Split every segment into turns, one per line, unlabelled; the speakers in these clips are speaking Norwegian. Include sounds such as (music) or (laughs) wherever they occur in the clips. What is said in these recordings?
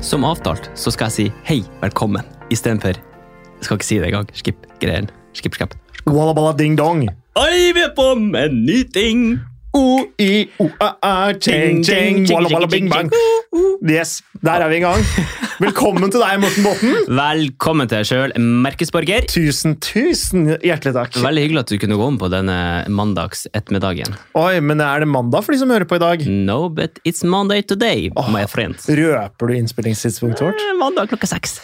som avtalt, så skal jeg si hei, velkommen, istedenfor Jeg skal ikke si det engang. Skip greien. Skip, skap.
Walla balla ding dong.
Jeg vil på med en ny ting!
O-i-o-a-a, ching ching, walla balla bing bang. Yes, der er vi i gang. Velkommen til deg, Morten Botten.
Velkommen til deg sjøl, merkesborger.
Tusen, tusen hjertelig takk.
Veldig hyggelig at du kunne gå om på denne mandags ettermiddagen.
Oi, men er det mandag for de som hører på i dag?
No, but it's Monday today, my friend.
Røper du innspillingstidspunktet vårt?
Eh, Mandag klokka seks.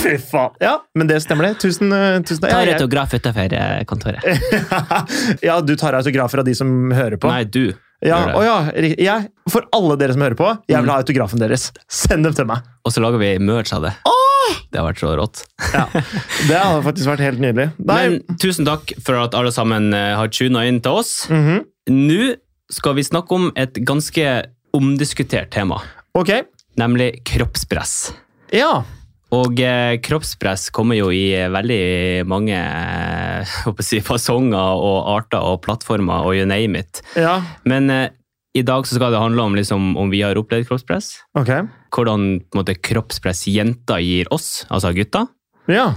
Fy faen. Ja, men det stemmer det. Tusen, eh, tusen
Ta
takk.
autograf utafor kontoret.
(laughs) ja, du tar autografer av de som hører på?
Nei, du.
Ja,
gjør det. Mm.
å ja, ri- jeg, for alle dere som hører på, jeg vil ha autografen deres. Send dem til meg.
Og så lager vi merch av det. Det har vært så rått.
Ja, Det hadde faktisk vært helt nydelig. Nei,
Men tusen takk for at alle sammen eh, har tuna inn til oss.
mhm.
Nå skal vi snakke om et ganske omdiskutert tema,
Ok.
nemlig kroppspress.
Ja.
Og eh, kroppspress kommer jo i eh, veldig mange eh, (laughs) håper jeg å si, fasonger og arter og plattformer og you name it.
ja.
Men eh, i dag så skal det handle om liksom, om vi har opplevd kroppspress.
Ok.
Hvordan på en måte, kroppspress jenter gir oss, altså gutta.
Ja.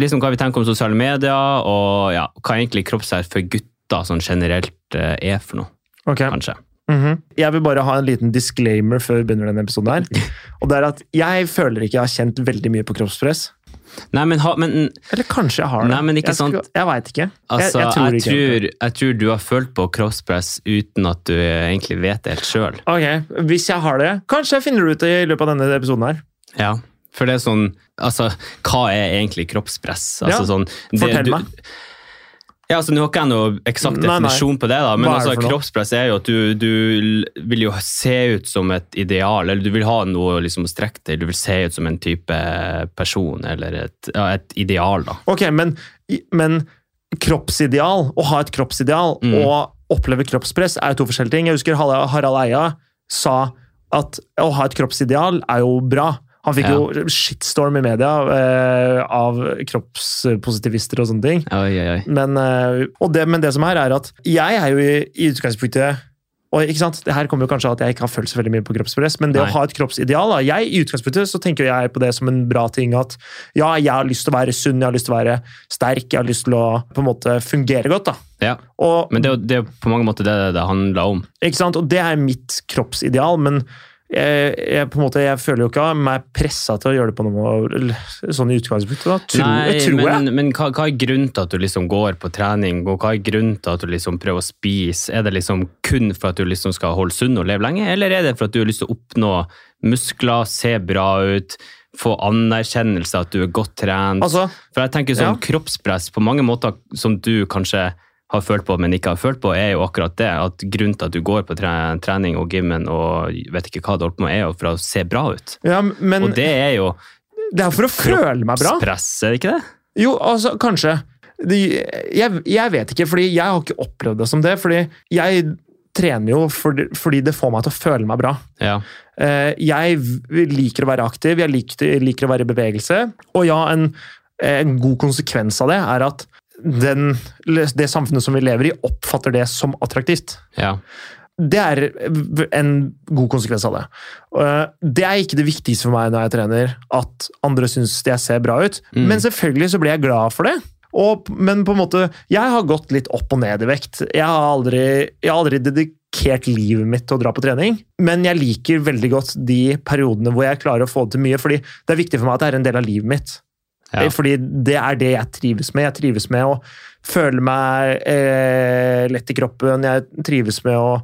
Liksom hva vi tenker om sosiale medier, og ja, hva egentlig kroppspress for gutta sånn generelt eh, er for noe,
Ok.
kanskje.
Mhm. Jeg vil bare ha en liten disclaimer før vi begynner denne episoden. her. (laughs) Og det er at Jeg føler ikke jeg har kjent veldig mye på kroppspress.
Nei, men, ha, men
Eller kanskje jeg har det.
Nei, men ikke
jeg
sant.
jeg veit ikke.
Altså, jeg,
tror
tror jeg,
ikke jeg
tror, du har følt på kroppspress uten at du eh, egentlig vet det helt sjøl.
Ok, Hvis jeg har det, kanskje jeg finner det ut i løpet av denne episoden. her.
Ja. For det er sånn Altså, hva er egentlig kroppspress? Altså,
Ja,
sånn, det,
fortell
du-
meg.
Ja, altså, Nå har ikke jeg noe eksakt
Nei, nei.
definisjon på det, da, men
Hva er det
altså,
for noe?
kroppspress er jo at du, du l- vil jo se ut som et ideal, eller du vil ha noe liksom, å strekke til. Du vil se ut som en type person, eller et, ja, et ideal, da.
Ok, men, men kroppsideal, å ha et kroppsideal og oppleve kroppspress er jo to forskjellige ting. Jeg husker Harald Harald Eia sa at å ha et kroppsideal er jo bra. Han fikk
Ja.
jo shitstorm i media eh, av kroppspositivister og sånne ting.
Oi, oi, oi.
Men, eh, og det, men det som er, er at jeg er jo i, i utgangspunktet og ikke sant, det her kommer jo kanskje av at jeg ikke har følt så veldig mye på kroppspress, men det
Nei.
å ha et kroppsideal da, jeg, I utgangspunktet så tenker jeg på det som en bra ting. At ja, jeg har lyst til å være sunn, jeg har lyst til å være sterk, jeg har lyst til å på en måte fungere godt.
Ja.
da. Og,
Men det er jo det er jo på mange måter det det handler om.
ikke sant, og det er mitt kroppsideal, men jeg, jeg, på en måte, jeg føler jo ikke meg pressa til å gjøre det på noe eller sånn i utgangspunktet. da, tror,
Nei,
tror jeg.
men, men hva, hva er grunnen til at du liksom går på trening, og hva er grunnen til at du liksom prøver å spise? Er det liksom kun for at du liksom skal holde sunn og leve lenge, eller er det for at du har lyst til å oppnå muskler, se bra ut, få anerkjennelse at du er godt trent?
Altså,
for jeg tenker sånn
ja.
kroppspress på mange måter som du kanskje har følt på, men ikke har følt på, er jo akkurat det. At grunnen til at du går på tre trening og gymmen og vet ikke hva du holder på med, er jo for å se bra ut.
ja, men
Og det er jo
det er for å føle meg bra.
kroppspress, er det ikke det?
Jo, altså, kanskje. Det, jeg, jeg vet ikke, fordi jeg har ikke opplevd det som det. Fordi jeg trener jo fordi, fordi det får meg til å føle meg bra.
Ja.
Eh, jeg v- liker å være aktiv, jeg liker, liker å være i bevegelse. Og ja, en, en god konsekvens av det er at den, det samfunnet som vi lever i, oppfatter det som attraktivt.
ja.
Det er en god konsekvens av det. Eh, Det er ikke det viktigste for meg når jeg trener, at andre syns jeg ser bra ut.
Mm.
Men selvfølgelig så blir jeg glad for det. Og, men på en måte, jeg har gått litt opp og ned i vekt. Jeg har aldri, jeg har aldri dedikert livet mitt til å dra på trening. Men jeg liker veldig godt de periodene hvor jeg klarer å få det til mye, fordi det er viktig for meg at det er en del av livet mitt.
Ja.
Eh, Fordi det er det jeg trives med. Jeg trives med å føle meg eh, lett i kroppen, jeg trives med å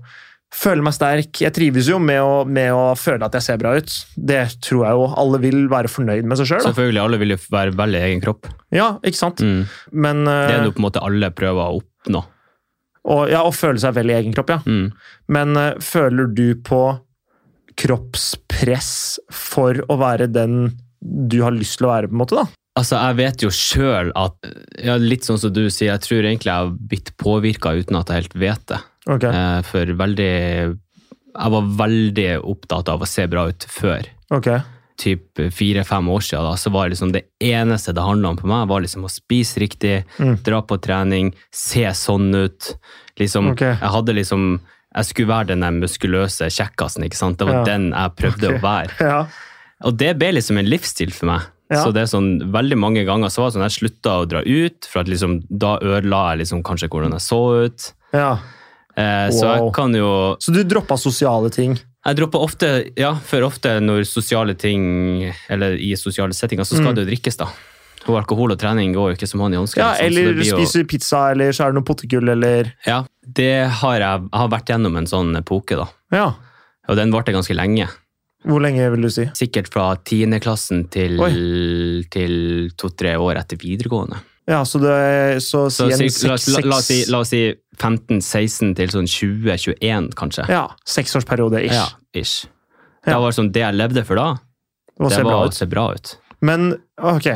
føle meg sterk. Jeg trives jo med å, med å føle at jeg ser bra ut. Det tror jeg jo alle vil være fornøyd med seg sjøl.
Selvfølgelig, alle vil jo være veldig egen kropp.
Ja, ikke sant? Men
Mm. Det
eh,
er noe på en måte alle prøver å oppnå.
og, ja, å føle seg vel i egen kropp, ja.
Mm.
Men eh, føler du på kroppspress for å være den du har lyst til å være, på en måte, da?
Altså, jeg vet jo sjøl at ja, Litt sånn som du sier, jeg tror egentlig jeg har blitt påvirka uten at jeg helt vet det.
Ok,
Eh, For veldig Jeg var veldig opptatt av å se bra ut før.
ok.
Typ fire-fem år siden, da, så var det liksom det eneste det handla om for meg, var liksom å spise riktig,
Mm.
dra på trening, se sånn ut. Liksom,
Ok.
Jeg hadde liksom Jeg skulle være den der muskuløse kjekkasen, ikke sant? Det var
Ja.
den jeg prøvde
Ok.
å være.
Ja.
Og det ble liksom en livsstil for meg.
Ja.
Så det er sånn, Veldig mange ganger så var det sånn jeg slutta å dra ut, for at liksom, da ødela jeg liksom kanskje hvordan jeg så ut.
Ja.
Eh, Så jeg
Wow.
kan jo
Så du droppa sosiale ting.
Jeg dropper ofte, ja, for ofte når sosiale ting, eller i sosiale settinger, så skal
Mm.
det jo drikkes, da. Og alkohol og trening går jo ikke sånn som hånd i håndske.
Ja,
ikke sant? Så
eller
det blir jo-
spiser pizza, eller så er det noe potetgull, eller
Ja, det har jeg, jeg har vært gjennom en sånn epoke, da.
Ja.
Og den varte ganske lenge.
Hvor lenge vil du si?
Sikkert fra tiendeklassen til, til to-tre år etter videregående.
Ja, så det så
Så
si en
cirka- la, oss-
seks
la, la, oss si,
seks-
la oss si 15-16 til sånn 20-21, kanskje.
Ja, seksårsperiode ish.
Ja, ish. Da var det sånn, det jeg levde for da,
Det må
det
se bra
var å
ut.
se bra ut.
Men ok.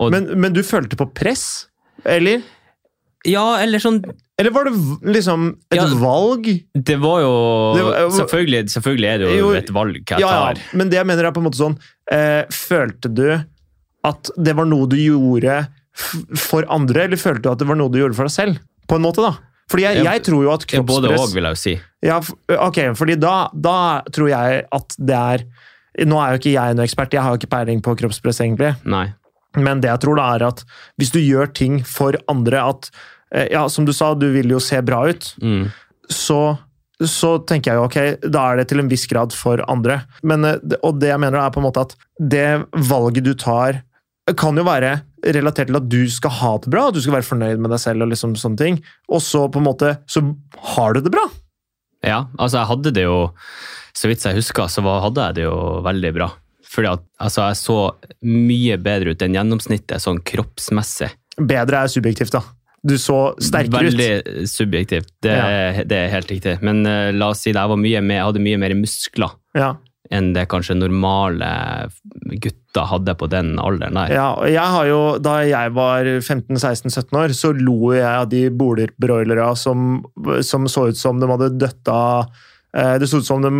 Og-
Men, men du følte på press? Eller?
Ja, eller sånn
Eller var det v- liksom et
Ja.
valg?
Det var jo
Det var-
selvfølgelig, selvfølgelig er det jo,
Jo,
et valg jeg
Ja, ja,
tar.
men det jeg mener er på en måte sånn eh, Følte du at det var noe du gjorde f for andre, eller følte du at det var noe du gjorde for deg selv? På en måte, da. Fordi jeg,
Ja,
jeg tror jo at
Ja, Både
kroppspress
òg, vil jeg jo si.
Ja, f- ok, fordi da, da tror jeg at det er Nå er jo ikke jeg noen ekspert, jeg har jo ikke peiling på kroppspress, egentlig.
Nei.
Men det jeg tror da er at hvis du gjør ting for andre at eh, Ja, som du sa, du vil jo se bra ut.
Mm.
Så, så tenker jeg jo ok, da er det til en viss grad for andre. Men, eh, det- og det jeg mener er på en måte at det valget du tar kan jo være relatert til at du skal ha det bra, at du skal være fornøyd med deg selv og liksom sånne ting. Og så på en måte, så har du det bra.
Ja, altså jeg hadde det jo Så vidt jeg husker, så var, hadde jeg det jo veldig bra. Fordi at altså, jeg så mye bedre ut enn gjennomsnittet, sånn kroppsmessig.
Bedre er subjektivt, da. Du så sterkere ut.
Veldig subjektivt. Det, er- det er helt riktig. Men eh, la oss si det, jeg, var mye mer, jeg hadde mye mer muskler
Ja.
enn det kanskje normale gutter hadde på den alderen der.
Ja, og jeg har jo, da jeg var 15-16-17 år, så lo jeg av de bolerbroilere som, som så ut som de hadde døtta eh, Det så ut som de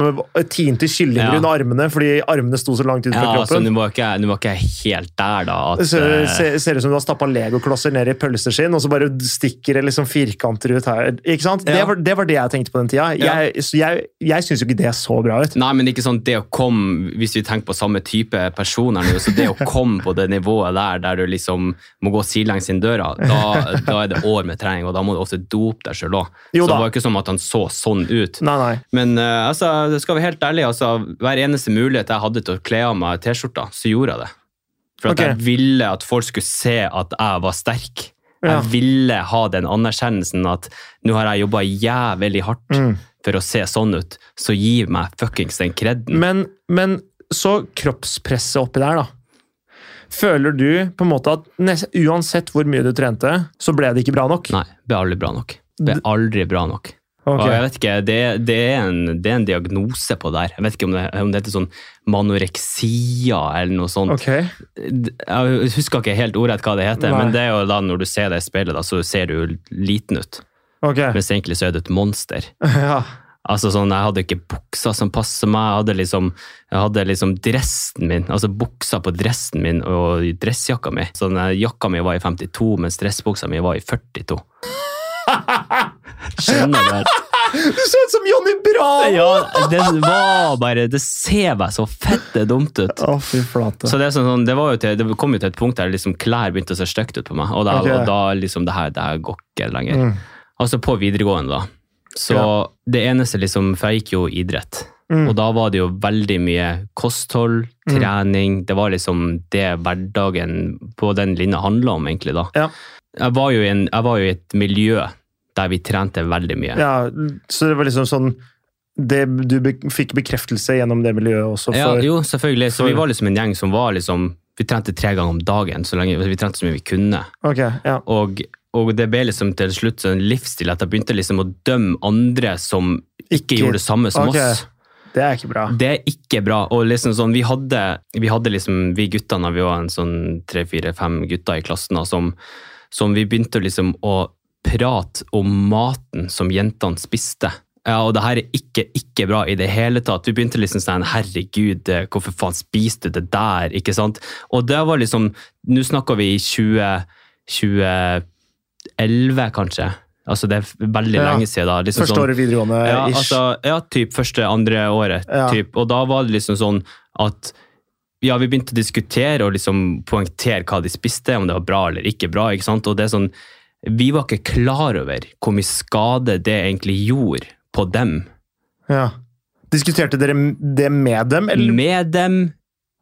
tinte kyllinger
Ja.
under armene fordi armene sto så langt ut fra
Ja, altså,
kroppen.
Nå var ikke jeg nå var ikke jeg helt der, da. At,
Det ser,
eh,
ser, ser ut som du har stappa legoklosser ned i pølseskinn, og så bare stikker det liksom firkanter ut her. Ikke sant? Det,
Ja.
var, det var det jeg tenkte på den tida.
Ja.
Jeg, så jeg, jeg syns jo ikke det så bra ut.
Nei, men ikke sånn det å komme, hvis vi tenker på samme type personer nå, så det å komme på det nivået der, der du liksom må gå sidelengs inn døra, da, da er det år med trening, og da må du ofte dope deg sjøl òg. Så
Jo
det
da.
var ikke som at han så sånn ut.
Nei, nei.
Men eh, altså, det skal være helt ærlig, altså, hver eneste mulighet jeg hadde til å kle av meg T-skjorta, så gjorde jeg det. For at
Ok.
jeg ville at folk skulle se at jeg var sterk.
Ja.
Jeg ville ha den anerkjennelsen at nå har jeg jobba jævlig hardt
Mm.
for å se sånn ut, så gi meg fuckings den kredden.
Men, men så kroppspresset oppi der, da. Føler du på en måte at nes- uansett hvor mye du trente, så ble det ikke bra nok?
Nei, det er aldri bra nok. Det er aldri bra nok.
Ok.
Og jeg vet ikke, det, det, er en, det er en diagnose på det her. Jeg vet ikke om det, om det heter sånn manoreksia eller noe sånt.
Ok.
Jeg husker ikke helt ordrett hva det heter,
Nei.
men det er jo da når du ser det i speilet, da, så ser du jo liten ut.
Ok.
Mens egentlig så er du et monster.
(laughs) Ja.
Altså sånn, Jeg hadde ikke buksa som passa meg, jeg hadde liksom, jeg hadde liksom dressen min, altså buksa på dressen min og dressjakka mi. Så den her jakka mi var i 52, mens dressbuksa mi var i 42. Skjønner du?
Du så ut som Johnny Bravo!
(laughs) Ja, det var bare Det ser meg så fette dumt ut.
Å, fy flate.
Så Det er sånn, sånn, det, var jo til, det kom jo til et punkt der liksom klær begynte å se stygt ut på meg. Og da,
Ok.
og da liksom, det her, det her går ikke lenger.
Mm.
Altså på videregående, da. Så
Ja.
det eneste liksom For jeg gikk jo idrett.
Mm.
Og da var det jo veldig mye kosthold,
Mm.
trening. Det var liksom det hverdagen på den linja handla om, egentlig, da.
Ja.
Jeg, var jo i en, jeg var jo i et miljø der vi trente veldig mye.
ja, så det var liksom sånn det, Du be fikk bekreftelse gjennom det miljøet også
Ja,
for
jo, selvfølgelig. Så
for-
vi var liksom en gjeng som var liksom Vi trente tre ganger om dagen, så lenge vi trente så mye vi kunne.
Ok, ja.
Og, og det ble liksom til slutt en livsstil at jeg begynte liksom å dømme andre som ikke,
Ikke-
gjorde det samme som
Ok.
oss.
Det er ikke bra.
Det er ikke bra. Og liksom sånn, vi hadde, vi hadde liksom, vi guttene, vi var en sånn tre, fire, fem gutter i klassen da, som, som vi begynte liksom å prate om maten som jentene spiste. Ja, og det her er ikke, ikke bra i det hele tatt. Vi begynte liksom sånn, herregud, eh, hvorfor faen spiste du det der? Ikke sant? Og det var liksom, nå snakker vi i 20, 2011 kanskje. Altså det er veldig
Ja.
lenge siden da. Liksom
Første
sånn-
året videregående
ja,
ish.
altså, ja, typ første, andre året.
Ja.
Typ. Og da var det liksom sånn at ja, vi begynte å diskutere og liksom poengtere hva de spiste, om det var bra eller ikke bra. ikke sant? Og det er sånn, Vi var ikke klar over hvor mye skade det egentlig gjorde på dem.
Ja. Diskuterte dere det med dem, eller?
Med dem,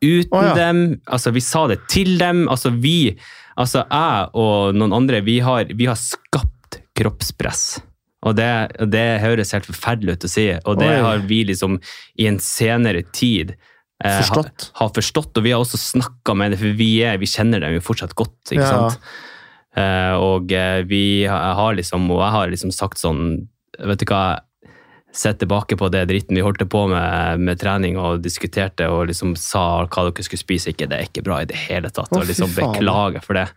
uten
Å, ja.
dem. Altså, vi sa det til dem. Altså, vi, altså jeg og noen andre, vi har, vi har skapt kroppspress. Og det, og det høres helt forferdelig ut å si, og det
Oi.
har vi liksom i en senere tid eh, ha-
Forstått.
har forstått, og vi har også snakka med det, for vi, er, vi kjenner dem jo fortsatt godt. ikke
Ja.
sant? Eh, og eh, vi har, har liksom, og jeg har liksom sagt sånn Vet du hva, sett tilbake på det dritten vi holdt på med med trening og diskuterte og liksom sa hva dere skulle spise, ikke det er ikke bra i det hele tatt,
Å,
og
fy
liksom
faen.
beklager for det.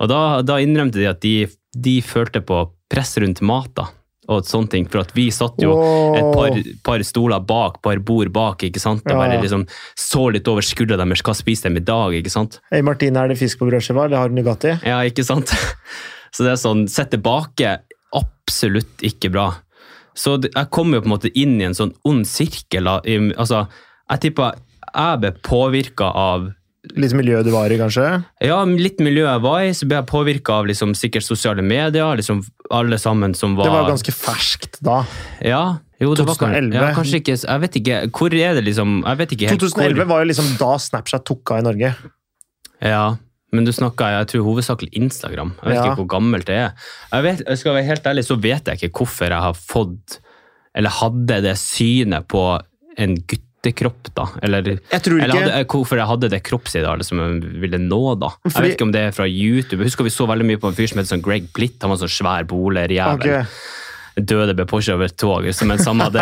Og da, da innrømte de at de, de følte på press rundt mat da, og sånne ting, for at vi satt jo et par, par stoler bak, par bord bak, ikke sant? Og
Ja, ja.
bare liksom så litt over skuldra deres, hva spiser de i dag, ikke sant?
Hei, Martine, er det fisk på brødskiva, eller har du Nugatti?
Ja, ikke sant? (laughs) Så det er sånn, sett tilbake, absolutt ikke bra. Så det- jeg kom jo på en måte inn i en sånn ond sirkel. av- i- Altså, jeg tipper jeg ble påvirket av
Litt miljø du var i, kanskje?
ja, litt miljø jeg var i, så ble jeg påvirket av liksom, sikkert sosiale medier, liksom alle sammen som var...
Det var ganske ferskt da.
Ja, jo, det var kanskje-
2011.
Ja, kanskje ikke, jeg vet ikke, hvor er det liksom... Jeg vet ikke helt hvor-
2011 var jo liksom da Snapchat tok av i Norge.
Ja, men du snakka jeg tror hovedsakelig Instagram. Jeg vet
Ja.
ikke hvor gammelt det er. Jeg, vet, jeg skal være helt ærlig, så vet jeg ikke hvorfor jeg har fått, eller hadde det synet på en guttekropp, da. Eller,
Jeg tror
eller
ikke
hadde, hvorfor jeg hadde det kroppsidealet som jeg ville nå, da. Jeg
Fordi-
vet ikke om det er fra YouTube. Jeg husker vi så veldig mye på en fyr som het sånn Greg Plitt. Han var sånn svær bolerjævel
Ok.
døde ble påkjørt av et tog. liksom, Mens han
(laughs)
hadde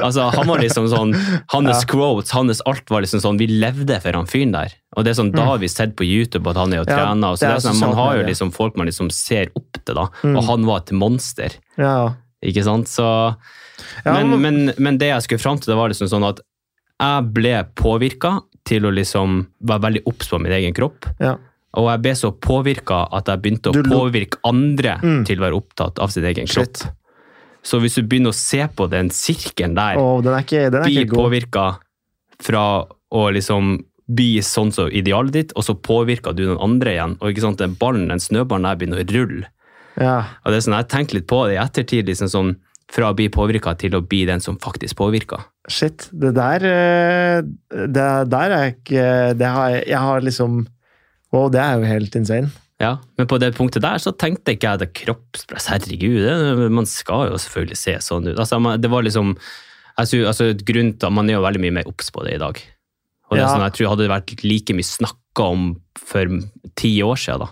altså, Han var liksom sånn Hans quotes, hans alt var liksom sånn Vi levde for han fyren der. Og det er sånn, da har vi sett på YouTube at han er jo
Mm. Ja,
trener. og Så
det
det
er Mm.
er sånn, man
sosialt
har jo
medie.
liksom folk man liksom ser opp til, da. Og han var et monster.
Ja,
Ikke sant? Så
Ja,
Men,
men-
men, men det jeg skulle fram til, det var liksom sånn at jeg ble påvirka til å liksom være veldig obs på min egen kropp.
ja.
Og jeg ble så påvirka at jeg begynte å
Du lo-
påvirke andre
Mm.
til å være opptatt av sin egen kropp.
Shit.
Så hvis du begynner å se på den sirkelen der,
Å, den er ikke, den er
bli
ikke god.
påvirka fra å liksom bli sånn som idealet ditt, og så påvirker du noen andre igjen. Og ikke sant, den ballen, den snøballen der begynner å rulle.
Ja.
Og det er sånn, Jeg tenker litt på det i ettertid, liksom sånn fra å bli påvirka til å bli den som faktisk påvirker.
Shit, det der eh, Det der er ikke det har, jeg- Jeg har liksom Wow, det er jo helt insane.
Ja, men på det punktet der så tenkte ikke jeg det kroppspress. Herregud, det, man skal jo selvfølgelig se sånn ut. Altså, man, det var liksom, jeg synes, altså, grunnen til at man er jo veldig mye mer obs på det i dag. Og det er
Ja.
sånn, jeg tror hadde det vært like mye snakket om for ti år siden da,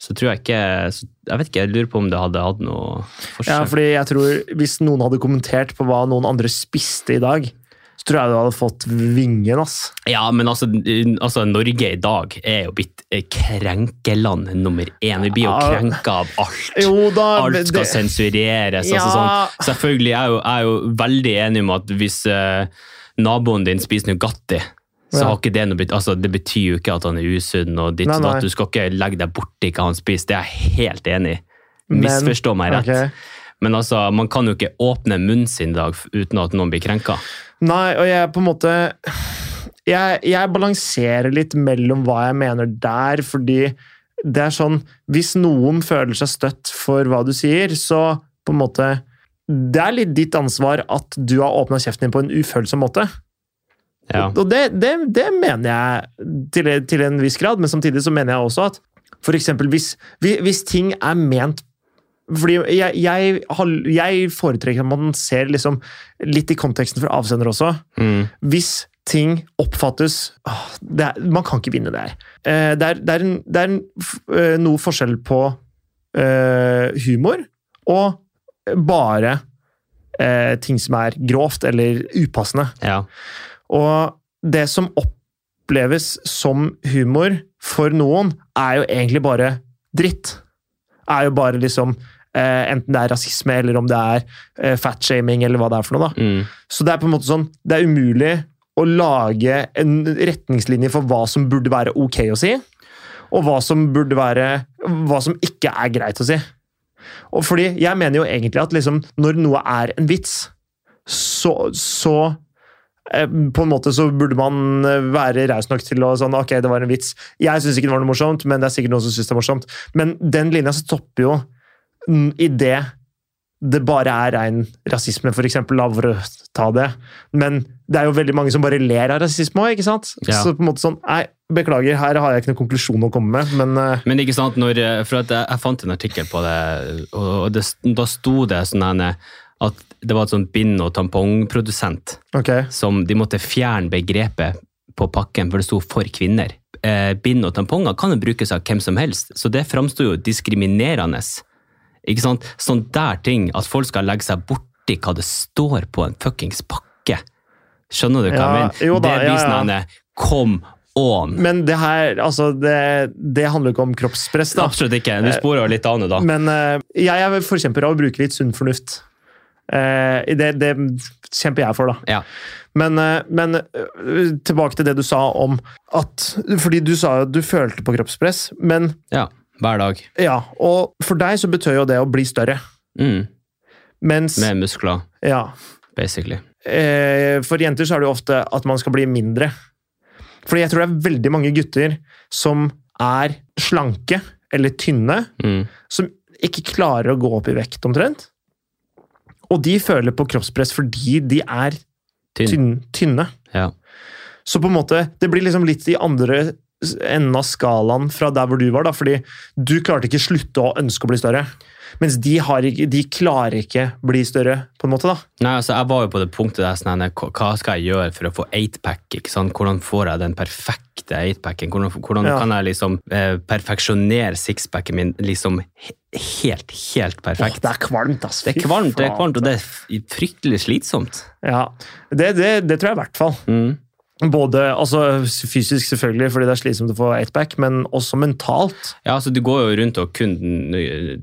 så tror jeg ikke, så, jeg vet ikke, jeg lurer på om det hadde hatt noe
Ja,
forskjell.
fordi jeg tror Hvis noen hadde kommentert på hva noen andre spiste i dag, så tror jeg du hadde fått vingen, ass.
Ja, men altså, n- altså, Norge i dag er jo blitt eh, krenkeland nummer én. Vi blir jo
Ja.
krenket av alt.
Jo da men
alt skal
det-
sensureres. Altså,
Ja.
sånn. Selvfølgelig er jeg, jo, jeg er jo veldig enig med at hvis eh, naboen din spiser Nugatti, så
Ja.
har ikke det noe bet- altså, Det betyr jo ikke at han er usunn og ditt
Nei,
og
nei.
datt. Du skal ikke legge deg borti hva han spiser. Det er jeg helt enig i.
Men-
Misforstå meg rett.
Ok.
Men altså, man kan jo ikke åpne munnen sin i dag f- uten at noen blir krenka.
Nei, og jeg på en måte jeg, jeg balanserer litt mellom hva jeg mener der, fordi det er sånn Hvis noen føler seg støtt for hva du sier, så på en måte Det er litt ditt ansvar at du har åpna kjeften din på en ufølsom måte.
Ja.
Og det, det, det mener jeg til, til en viss grad, men samtidig så mener jeg også at for eksempel hvis, hvi- hvis ting er ment fordi jeg, jeg, har- jeg foretrekker at man ser liksom litt i konteksten for avsender også
Mm.
hvis ting oppfattes åh, det er, Man kan ikke vinne det her. Eh, det er, det er, en, det er en, f- eh, noe forskjell på eh, humor og bare eh, ting som er grovt eller upassende.
ja.
Og det som oppleves som humor for noen, er jo egentlig bare dritt. Er jo bare liksom eh, Enten det er rasisme, eller om det er eh, fatshaming, eller hva det er for noe. da.
Mm.
Så det er på en måte sånn, det er umulig å lage en retningslinje for hva som burde være ok å si, og hva som burde være hva som ikke er greit å si. Og fordi jeg mener jo egentlig at liksom, når noe er en vits, så, så eh, på en måte så burde man eh, være raus nok til å sånn, ok, det var en vits. Jeg syns ikke det var noe morsomt, men det er sikkert noen som syns det er morsomt. Men den linja stopper jo mm, i det det bare er rein rasisme, for eksempel, da, for å ta det. Men det er jo veldig mange som bare ler av rasisme òg, ikke sant?
Ja.
Så på en måte sånn, nei, beklager, her har jeg ikke noen konklusjon å komme med, men eh,
Men ikke sant, når, for at jeg, jeg fant en artikkel på det, og, og det, da sto det sånn her, at det var et sånt bind- og tampongprodusent
ok.
som de måtte fjerne begrepet på pakken, for det sto for kvinner. Eh, bind og tamponger kan jo brukes av hvem som helst, så det framstår jo diskriminerende. Ikke sant? Sånn der ting, at folk skal legge seg borti hva det står på en fuckings pakke. Skjønner du hva
Ja,
jeg mener?
jo da,
det blir
ja, ja.
sånn her, Come on!
Men det her, altså, det, det handler jo ikke om kroppspress, da.
Absolutt ikke. Du sporer jo litt av nå, da.
Eh, Men eh, jeg er forkjemper av å bruke litt sunn fornuft. Eh, det, det kjemper jeg for, da.
Ja.
Men, eh, men eh, tilbake til det du sa om at Fordi du sa jo at du følte på kroppspress, men
Ja, hver dag.
ja. Og for deg så betød jo det å bli større.
Mm.
Mens
Med muskler,
ja,
basically.
eh, For jenter så er det jo ofte at man skal bli mindre. Fordi jeg tror det er veldig mange gutter som er slanke eller tynne,
Mm.
som ikke klarer å gå opp i vekt omtrent. Og de føler på kroppspress fordi de er
Tynn.
tynn, tynne.
Ja.
Så på en måte, det blir liksom litt i andre enden av skalaen fra der hvor du var, da, fordi du klarte ikke slutte å ønske å bli større. Mens de, har ikke, de klarer ikke bli større, på en måte. da.
Nei, altså, jeg var jo på det punktet der sånn, hva hva skal jeg gjøre for å få 8-pack? ikke sant? Hvordan får jeg den perfekte 8-packen? Hvordan, hvordan
Ja.
kan jeg liksom eh, perfeksjonere sixpacken min liksom he- helt, helt
Åh,
perfekt?
det er kvalmt, ass.
det
Fy
er kvalmt, det er
faen.
kvalmt, og det er f- fryktelig slitsomt.
Ja, det, det, det tror jeg i hvert fall.
Mm.
Både altså, fysisk, selvfølgelig, fordi det er slitsomt å få eightpack, men også mentalt.
Ja, altså Du går jo rundt og kun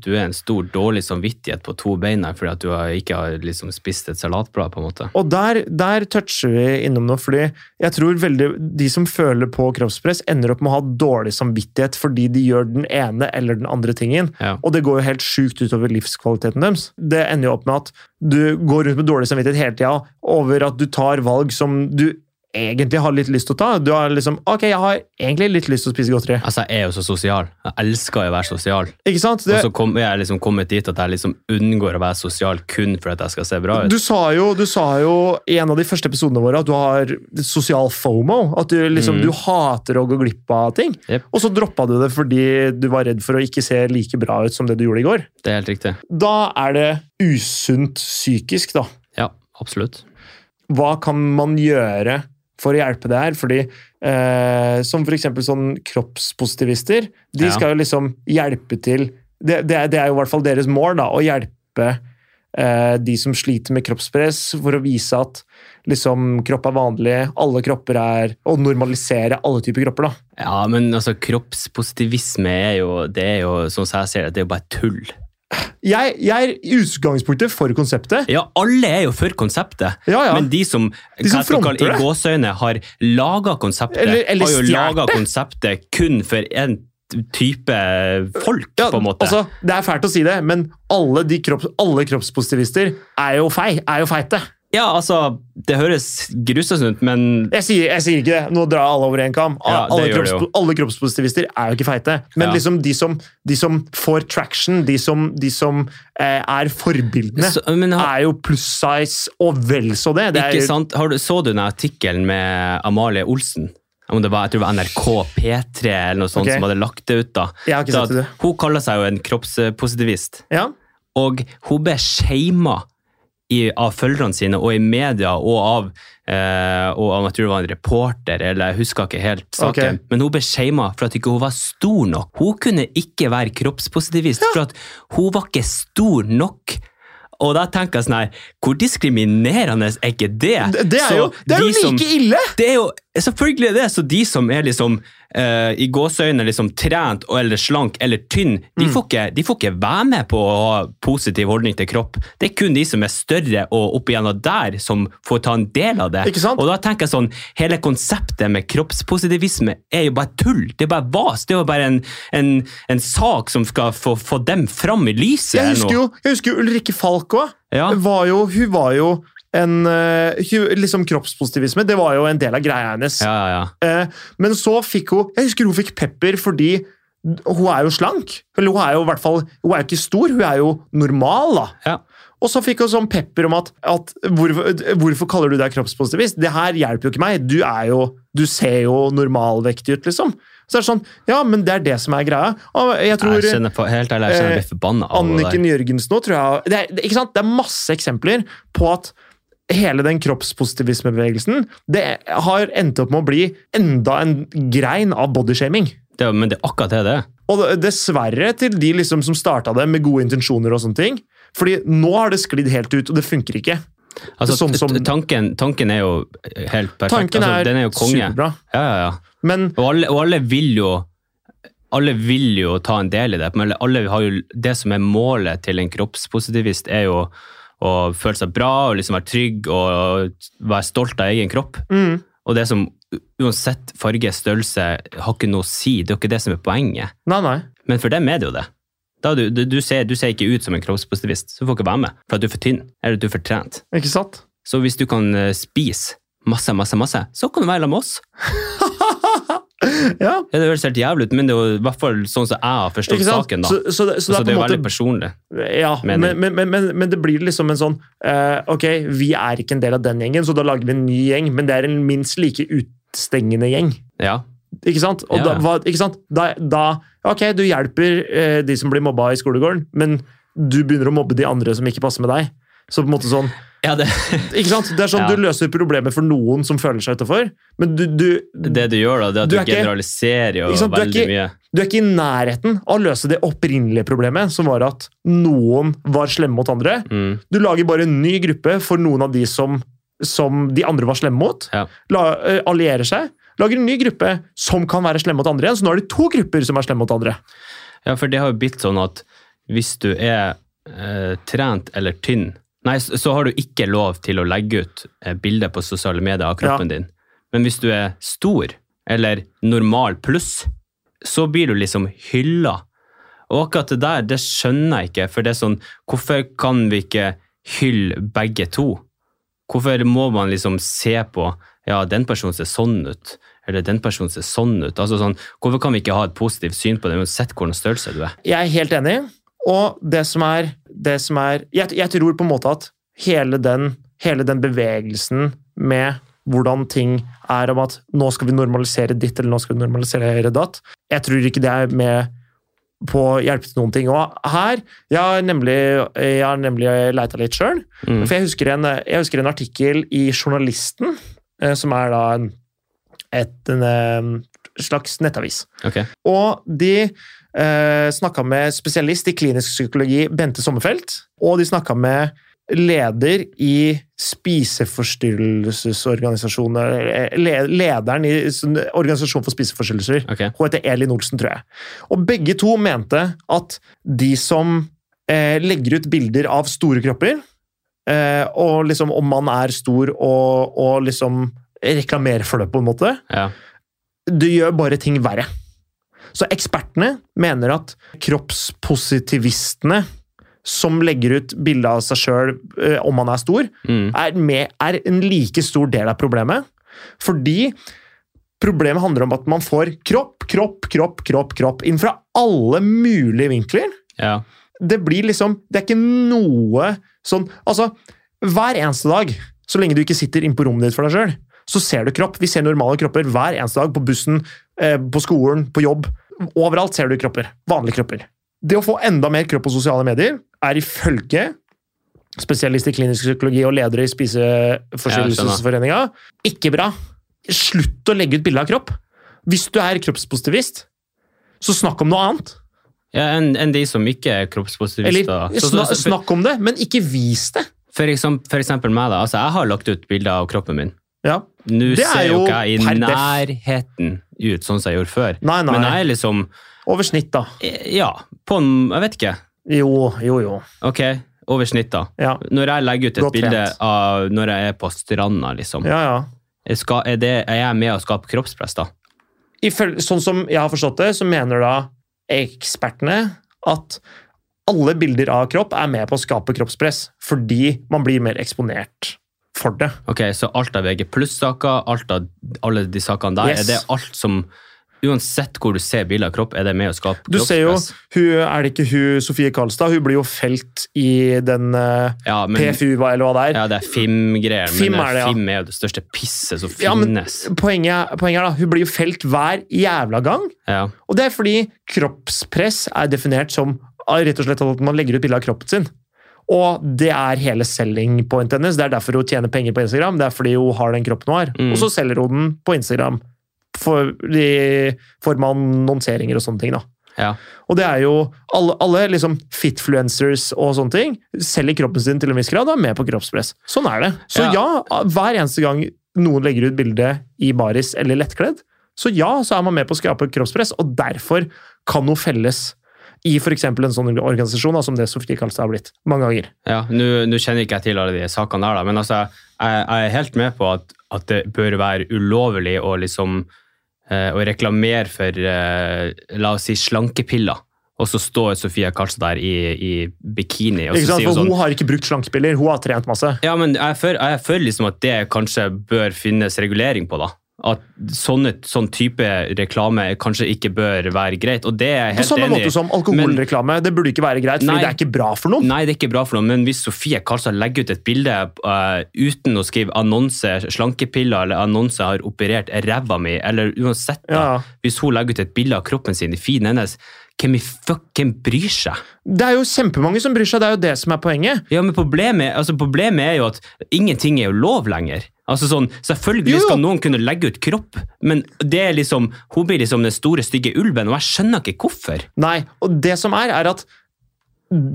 Du er en stor dårlig samvittighet på to bein her, fordi at du har, ikke har liksom spist et salatblad, på en måte.
Og der, der toucher vi innom noe, fordi jeg tror veldig de som føler på kroppspress, ender opp med å ha dårlig samvittighet fordi de gjør den ene eller den andre tingen.
Ja.
Og det går jo helt sjukt utover livskvaliteten deres. Det ender jo opp med at du går rundt med dårlig samvittighet hele tida over at du tar valg som du egentlig har litt lyst til å ta. Du har liksom Ok, jeg har egentlig litt lyst til å spise godteri.
Altså, jeg er jo så sosial. Jeg elsker jo å være sosial.
Ikke sant?
Og
Det,
så kom, jeg er liksom kommet dit at jeg liksom unngår å være sosial kun for at jeg skal se bra ut.
du sa, jo, du sa jo i en av de første episodene våre at du har sosial fomo. At du liksom,
Mm.
du hater å gå glipp av ting.
Jep.
Og så droppa du det fordi du var redd for å ikke se like bra ut som det du gjorde i går.
Det er helt riktig.
Da er det usunt psykisk, da.
Ja, absolutt.
Hva kan man gjøre for å hjelpe det her? Fordi eh, som for eksempel sånn kroppspositivister, de
Ja.
skal jo liksom hjelpe til det, det, er, det er jo i hvert fall deres mål, da, å hjelpe eh, de som sliter med kroppspress, for å vise at liksom kropp er vanlig, alle kropper er Å normalisere alle typer kropper, da.
Ja, men altså, kroppspositivisme er jo, det er jo, sånn som jeg ser det, det er jo bare tull.
Jeg, jeg er i utgangspunktet for konseptet.
Ja, alle er jo for konseptet,
Ja, ja.
men de som,
De som
hva jeg skal
fronter det.
i gåsøgne har laget konseptet,
Eller- eller
har jo
stjert
laget konseptet kun for en type folk,
Ja,
på en måte.
Altså, det er fælt å si det, men alle, de kropps, alle kroppspositivister er jo, fei, er jo feite.
ja, altså, det høres grusomt ut, men
Jeg sier, jeg sier ikke det. Nå drar alle over en kam.
Ja, det
alle,
gjør det
kropps, alle kroppspositivister er jo ikke feite. Men
Ja.
liksom de som, de som får traction, de som, de som eh, er forbildene,
Så- men har-
er jo pluss size og vel så det. det er,
Ikke sant? Har du, så du den artikkelen med Amalie Olsen? Om det var, jeg tror det var NRK P3 eller noe sånt
Ok.
som hadde lagt det ut. da.
Jeg har ikke
Da
sett det.
Hun kaller seg jo en kroppspositivist,
Ja,
og hun ble shama i, av følgerne sine og i media og av eh, og av, jeg tror det var en reporter, eller jeg husker ikke helt saken.
Ok.
Men hun ble shama for at ikke hun var stor nok. Hun kunne ikke være kroppspositivist, for at hun var ikke stor nok. Og da tenker jeg sånn her, hvor diskriminerende er ikke det?
det, det er
Så
jo, det er jo
de
like
som-
ille!
det er jo selvfølgelig er det, så de som er liksom eh, i gåseøyne liksom trent og- eller slank eller tynn, de,
Mm.
får ikke, de får ikke være med på å ha positiv holdning til kropp. Det er kun de som er større og opp igjennom der som får ta en del av det.
Ikke sant?
Og da tenker jeg sånn, hele konseptet med kroppspositivisme er jo bare tull. Det er bare vas. Det er jo bare en, en, en sak som skal få, få dem fram i lyset.
Jeg
eller
husker
noe.
jo, jeg husker jo Ulrikke Falk òg.
Ja.
Var jo, hun var jo en eh, hu- liksom kroppspositivisme. Det var jo en del av greia hennes.
Ja, ja, ja.
Eh, men så fikk hun Jeg husker hun fikk pepper fordi hun er jo slank. Eller hun er jo i hvert fall Hun er jo ikke stor, hun er jo normal, da.
Ja.
Og så fikk hun sånn pepper om at, at hvorfor, hvorfor kaller du deg kroppspositivist? Det her hjelper jo ikke meg. Du, er jo, du ser jo normalvektig ut, liksom. Så er det sånn Ja, men det er det som er greia. Og jeg tror
Jeg kjenner på, helt ærlig, jeg kjenner jeg blir forbanna av det
eh, Anniken
der.
Jørgensen nå, tror jeg det er, det- ikke sant? det er masse eksempler på at hele den kroppspositivismebevegelsen det har endt opp med å bli enda en grein av bodyshaming.
Det, er jo- men det er akkurat det det er.
Og det- dessverre til de liksom som starta det med gode intensjoner og sånne ting. Fordi nå har det sklidd helt ut, og det funker ikke.
Altså,
Sånn som-
t- tanken, tanken er jo helt perfekt.
Tanken
altså,
er,
den er jo konge.
superbra.
Ja, ja, ja.
Men
Og alle, og alle vil jo alle vil jo ta en del i det, men alle har jo, det som er målet til en kroppspositivist, er jo å føle seg bra og liksom være trygg og være stolt av egen kropp.
mm,
Og det som uansett farge, størrelse, har ikke noe å si. Det er jo ikke det som er poenget.
nei, nei.
Men for dem er det jo det. Da du, du, du, ser, du ser ikke ut som en kroppspositivist, så du får ikke være med. For at du er for tynn, eller at du er for trent.
Ikke sant? (laughs)
Så hvis du kan eh, spise masse, masse, masse, så kan du være sammen med oss.
Ja,
Ja, det høres helt jævlig ut, men det er jo i hvert fall sånn som jeg har
ikke
forstått
sant?
saken, da.
Så, så, det- så
Så det,
det er på
er jo
en
veldig
måte
personlig.
Ja, men,
mening.
men, men, men, men det blir liksom en sånn eh, Ok, vi er ikke en del av den gjengen, så da lager vi en ny gjeng, men det er en minst like utstengende gjeng.
Ja.
Ikke sant? Og
Ja,
da,
ja.
hva, ikke sant? Da, da Ok, du hjelper eh, de som blir mobba i skolegården, men du begynner å mobbe de andre som ikke passer med deg. Så på en måte sånn,
ja det,
ikke sant? Det er sånn
Ja.
Du løser problemer for noen som føler seg utafor, men du, du,
(laughs) det du gjør, da, det er at
Du
du,
er ikke-
generaliserer jo
Ikke sant, du er
veldig
ikke-
mye.
du er ikke i nærheten av å løse det opprinnelige problemet, som var at noen var slemme mot andre.
Mm.
Du lager bare en ny gruppe for noen av de som, som de andre var slemme mot.
Ja.
La, eh, allierer seg. Lager en ny gruppe som kan være slemme mot andre igjen. Så nå er det to grupper som er slemme mot andre.
ja, for det har jo blitt sånn at hvis du er eh, trent eller tynn, nei, så, så har du ikke lov til å legge ut eh, bilder på sosiale medier av kroppen din. Men hvis du er stor, eller normal pluss, så blir du liksom hylla. Og akkurat det der, det skjønner jeg ikke, for det er sånn, hvorfor kan vi ikke hylle begge to? Hvorfor må man liksom se på ja, den personen ser sånn ut, eller den personen ser sånn ut? Altså sånn, hvorfor kan vi ikke ha et positivt syn på det, uansett hvilken størrelse du er?
Jeg er helt enig. Og det som er, det som er jeg, jeg tror på en måte at hele den, hele den bevegelsen med hvordan ting er om at nå skal vi normalisere ditt, eller nå skal vi normalisere datt Jeg tror ikke det er med på å hjelpe til noen ting. Og her Jeg har nemlig, jeg har nemlig leita litt sjøl.
Mm.
For jeg husker, en, jeg husker en artikkel i Journalisten, eh, som er da en, et, en eh, slags nettavis.
Ok.
Og de eh, snakka med spesialist i klinisk psykologi, Bente Sommerfelt. Og de snakka med leder i spiseforstyrrelsesorganisasjoner eh, le- Lederen i sånn, Organisasjon for spiseforstyrrelser.
ok.
Hun heter Elin Olsen, tror jeg. Og begge to mente at de som eh, legger ut bilder av store kropper, eh, og liksom om man er stor og, og liksom reklamerer for det, på en måte,
Ja.
det gjør bare ting verre. Så ekspertene mener at kroppspositivistene som legger ut bilde av seg sjøl om man er stor,
Mm.
er, med, er en like stor del av problemet. Fordi problemet handler om at man får kropp, kropp, kropp, kropp, kropp inn fra alle mulige vinkler.
ja.
Det blir liksom Det er ikke noe sånn Altså, hver eneste dag, så lenge du ikke sitter inne på rommet ditt for deg sjøl, så ser du kropp. Vi ser normale kropper hver eneste dag på bussen, eh, på skolen, på jobb. Overalt ser du kropper. Vanlige kropper. Det å få enda mer kropp på sosiale medier er ifølge spesialist i klinisk psykologi og leder i Spiseforstyrrelsesforeninga ikke bra. Slutt å legge ut bilde av kropp. Hvis du er kroppspositivist, så snakk om noe annet.
ja enn enn de som ikke er kroppspositivister.
Eller
Så- så-
sna
så- for-
snakk om det, men ikke vis det.
For eksempel, for eksempel meg, da. Altså, jeg har lagt ut bilder av kroppen min.
Ja.
Nå
Det er
ser jo
jo
ikke jeg i
per def.
nærheten ut sånn som jeg gjorde før.
Nei, nei.
Men jeg er liksom
Over snitt, da.
Ja, på en Jeg vet ikke.
Jo, jo, jo.
Ok, over snitt, da.
Ja,
Når jeg legger ut et
Godt trent.
bilde av når jeg er på stranda, liksom,
ja. ja.
Jeg skal, er, det, er jeg med å skape kroppspress, da?
Iføl- sånn som jeg har forstått det, så mener da ekspertene at alle bilder av kropp er med på å skape kroppspress fordi man blir mer eksponert for det.
Ok, Så alt av VG pluss-saker, alt av alle de sakene der,
Yes.
er det alt som Uansett hvor du ser bilder av kropp, er det med å skape
Du ser jo,
kroppspress?
hun, er det ikke hun Sofie Karlstad? Hun blir jo felt i den eh,
ja, men,
PFU, hva- eller hva det er.
ja, det er FIM-greier, men
Fim er det, ja.
FIM er jo det største pisset som
Ja, men-
finnes.
Poenget, poenget er da, hun blir jo felt hver jævla gang.
Ja,
Og det er fordi kroppspress er definert som ah, rett og slett at man legger ut bilde av kroppen sin. Og det er hele selling point hennes. Det er derfor hun tjener penger på Instagram. Det er fordi hun har den kroppen hun har.
Mm.
Og så selger hun den på Instagram. For, i form av annonseringer og sånne ting, da.
ja.
Og det er jo alle, alle liksom fitfluencers og sånne ting selger kroppen sin til en viss grad og er med på kroppspress. Sånn er det. Så ja, hver eneste gang noen legger ut bilde i baris eller lettkledd, så ja, så er man med på å skape kroppspress, og derfor kan noe felles i f.eks. en sånn organisasjon da, som det Sofie Karlstad har blitt mange ganger.
Ja, Nå nå kjenner ikke jeg til alle de sakene der, da, men altså, jeg, jeg er helt med på at, at det bør være ulovlig å liksom eh, å reklamere for eh, la oss si slankepiller, og så står Sofia Karlstad der i, i bikini og
Ikke
så
sant?
sier hun
For
sånn
hun har ikke brukt slankepiller, hun har trent masse.
Ja, men jeg føler, jeg føler liksom at det kanskje bør finnes regulering på, da. At sånne, sånn type reklame kanskje ikke bør være greit, og det er jeg
På
helt
samme
enig
måte
i.
som alkoholreklame. Det burde ikke være greit, fordi
Nei.
det er ikke bra for noen.
Nei, det er ikke bra for noe, men hvis Sofie Karlstad legger ut et bilde eh, uten å skrive annonse, slankepiller eller annonse har operert ræva mi, eller uansett da,
Ja.
hvis hun legger ut et bilde av kroppen sin i feeden hennes, hvem i fuck, hvem bryr seg?
Det er jo kjempemange som bryr seg, det er jo det som er poenget.
Ja, men problemet, altså problemet er jo at ingenting er jo lov lenger. Altså sånn, Selvfølgelig
Jo, jo.
skal noen kunne legge ut kropp, men det er liksom, hun blir liksom den store, stygge ulven, og jeg skjønner ikke hvorfor.
Nei, og det som er, er at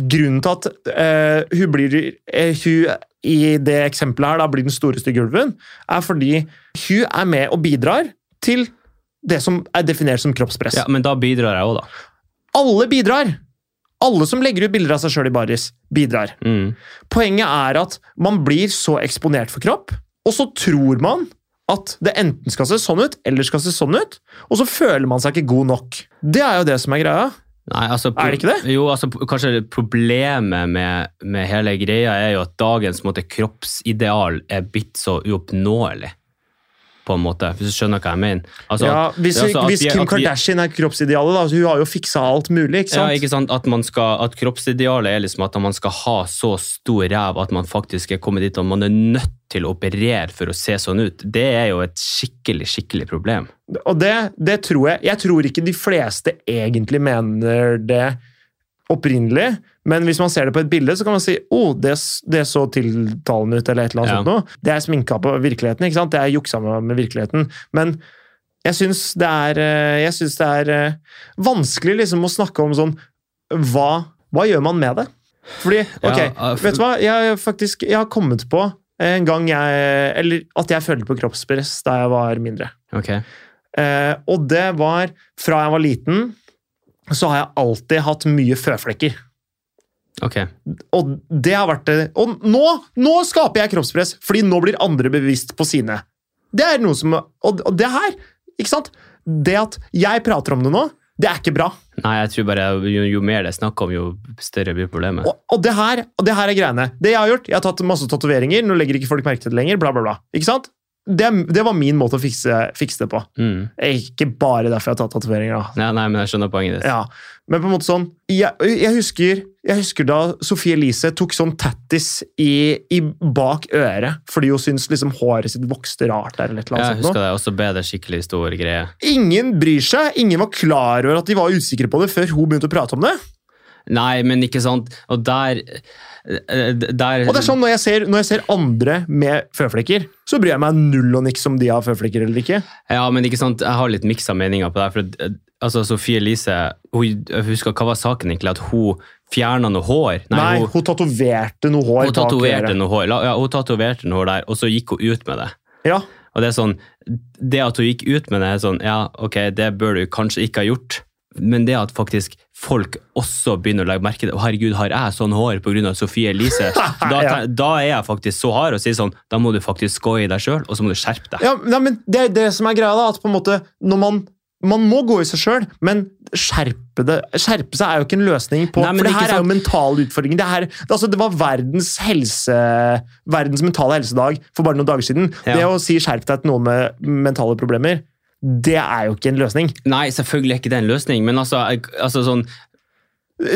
grunnen til at eh, hun blir eh, hun, i det eksempelet her da, blir den store stygge ulven, er fordi hun er med og bidrar til det som er definert som kroppspress.
Ja, Men da bidrar jeg òg, da.
Alle bidrar! Alle som legger ut bilder av seg sjøl i baris, bidrar.
Mm.
Poenget er at man blir så eksponert for kropp, og så tror man at det enten skal se sånn ut, eller skal se sånn ut, og så føler man seg ikke god nok. Det er jo det som er greia.
Nei, altså,
Er det ikke
Jo, altså, p- kanskje det problemet med, med hele greia er jo at dagens på en måte, kroppsideal er blitt så uoppnåelig, på en måte, hvis du skjønner hva jeg mener. Altså,
ja,
at-
hvis,
altså, at
hvis
vi-
Kim
at vi-
Kardashian er kroppsidealet, da, så hun har jo fiksa alt mulig. ikke sant?
Ja, ikke sant? At, man skal, at kroppsidealet er liksom at man skal ha så stor ræv at man faktisk er kommet dit og man er nødt til å operere for å se sånn ut. Det er jo et skikkelig, skikkelig problem.
Og det, det tror jeg Jeg tror ikke de fleste egentlig mener det opprinnelig, men hvis man ser det på et bilde, så kan man si å, oh, det, s- det så tiltalende ut, eller et eller annet
Ja.
sånt noe. Det er sminka på virkeligheten, ikke sant? Det er juksa med med virkeligheten. Men jeg syns det er, eh, jeg synes det er eh, vanskelig liksom å snakke om sånn Hva, hva gjør man med det? Fordi, ok,
Ja, eh,
vet du hva? Jeg, har faktisk, jeg har kommet på en gang jeg Eller at jeg følte på kroppspress da jeg var mindre.
Ok.
Eh, og det var Fra jeg var liten, så har jeg alltid hatt mye føflekker.
Ok.
Og det har vært det. Og nå, nå skaper jeg kroppspress, fordi nå blir andre bevisst på sine. Det er noe som Og, og det her, ikke sant? Det at jeg prater om det nå, det er ikke bra.
Nei, jeg tror bare jo, jo mer det er snakk om, jo større blir problemet.
Og, og, det her, og det her er greiene. Det jeg har gjort, jeg har tatt masse tatoveringer, nå legger ikke folk merke til det lenger, bla, bla, bla. Ikke sant? Det, det var min måte å fikse, fikse det på.
Mm.
Ikke bare derfor jeg har tatt tatoveringer. da.
Nei, nei, men jeg skjønner poenget ditt.
Ja, men på en måte sånn Jeg, jeg, husker, jeg husker da Sofie Elise tok sånn tattis i, i bak øret fordi hun syntes liksom håret sitt vokste rart der. eller et eller
jeg
annet sånt
husker
noe.
det. Også ble det skikkelig stor greie.
Ingen bryr seg, ingen var klar over at de var usikre på det før hun begynte å prate om det.
Nei, men ikke sant. Og der, eh, der
Og det er sånn Når jeg ser, når jeg ser andre med føflekker, så bryr jeg meg null og niks om de har føflekker eller ikke.
Ja, men ikke sant, jeg har litt miksa meninger på det. her, For at, eh, altså, Sofie Elise hun, jeg husker, Hva var saken egentlig? At hun fjerna noe hår?
Nei, hun,
hun,
tatoverte noe hår
hun
bak
tatoverte
øret.
noe hår La- ja, hun tatoverte noe hår der, og så gikk hun ut med det.
Ja,
Og Det er sånn, det at hun gikk ut med det, er sånn, ja, ok, det bør du kanskje ikke ha gjort. Men det at faktisk folk også begynner å legge merke til herregud, har jeg sånn hår pga. Sofie Elise? Da,
Ja.
da er jeg faktisk så hard og sier sånn, da må du faktisk gå i deg sjøl, og så må du skjerpe deg.
ja, nei, men det er det som er greia, da. At på en måte, når man Man må gå i seg sjøl, men skjerpe, det, skjerpe seg er jo ikke en løsning på
Nei, men
For det
ikke
her er jo
sant.
mentale utfordringer. Det, her, det, altså, det var verdens, helse, verdens mentale helsedag for bare noen dager siden.
Ja.
Det å si 'skjerp deg' til noen med mentale problemer, det er jo ikke en løsning.
Nei, selvfølgelig er ikke det en løsning, men altså, jeg- altså sånn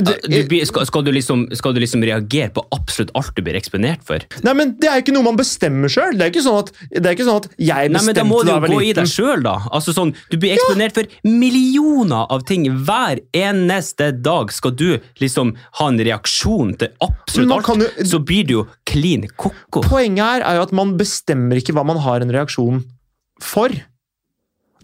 Det,
du, blir- skal, skal, du liksom, skal du liksom reagere på absolutt alt du blir eksponert for?
nei, men det er jo ikke noe man bestemmer sjøl. Det, er jo ikke sånn at- det er ikke sånn at jeg
Nei, men da må
bestemte
du
da
jo
jeg var
gå i
liten.
deg sjøl, da. Altså sånn, Du blir eksponert for millioner av ting hver eneste dag. Skal du liksom ha en reaksjon til
Men
absolutt
man
alt,
kan jo-
så blir du jo klin koko.
Poenget her er jo at man bestemmer ikke hva man har en reaksjon for.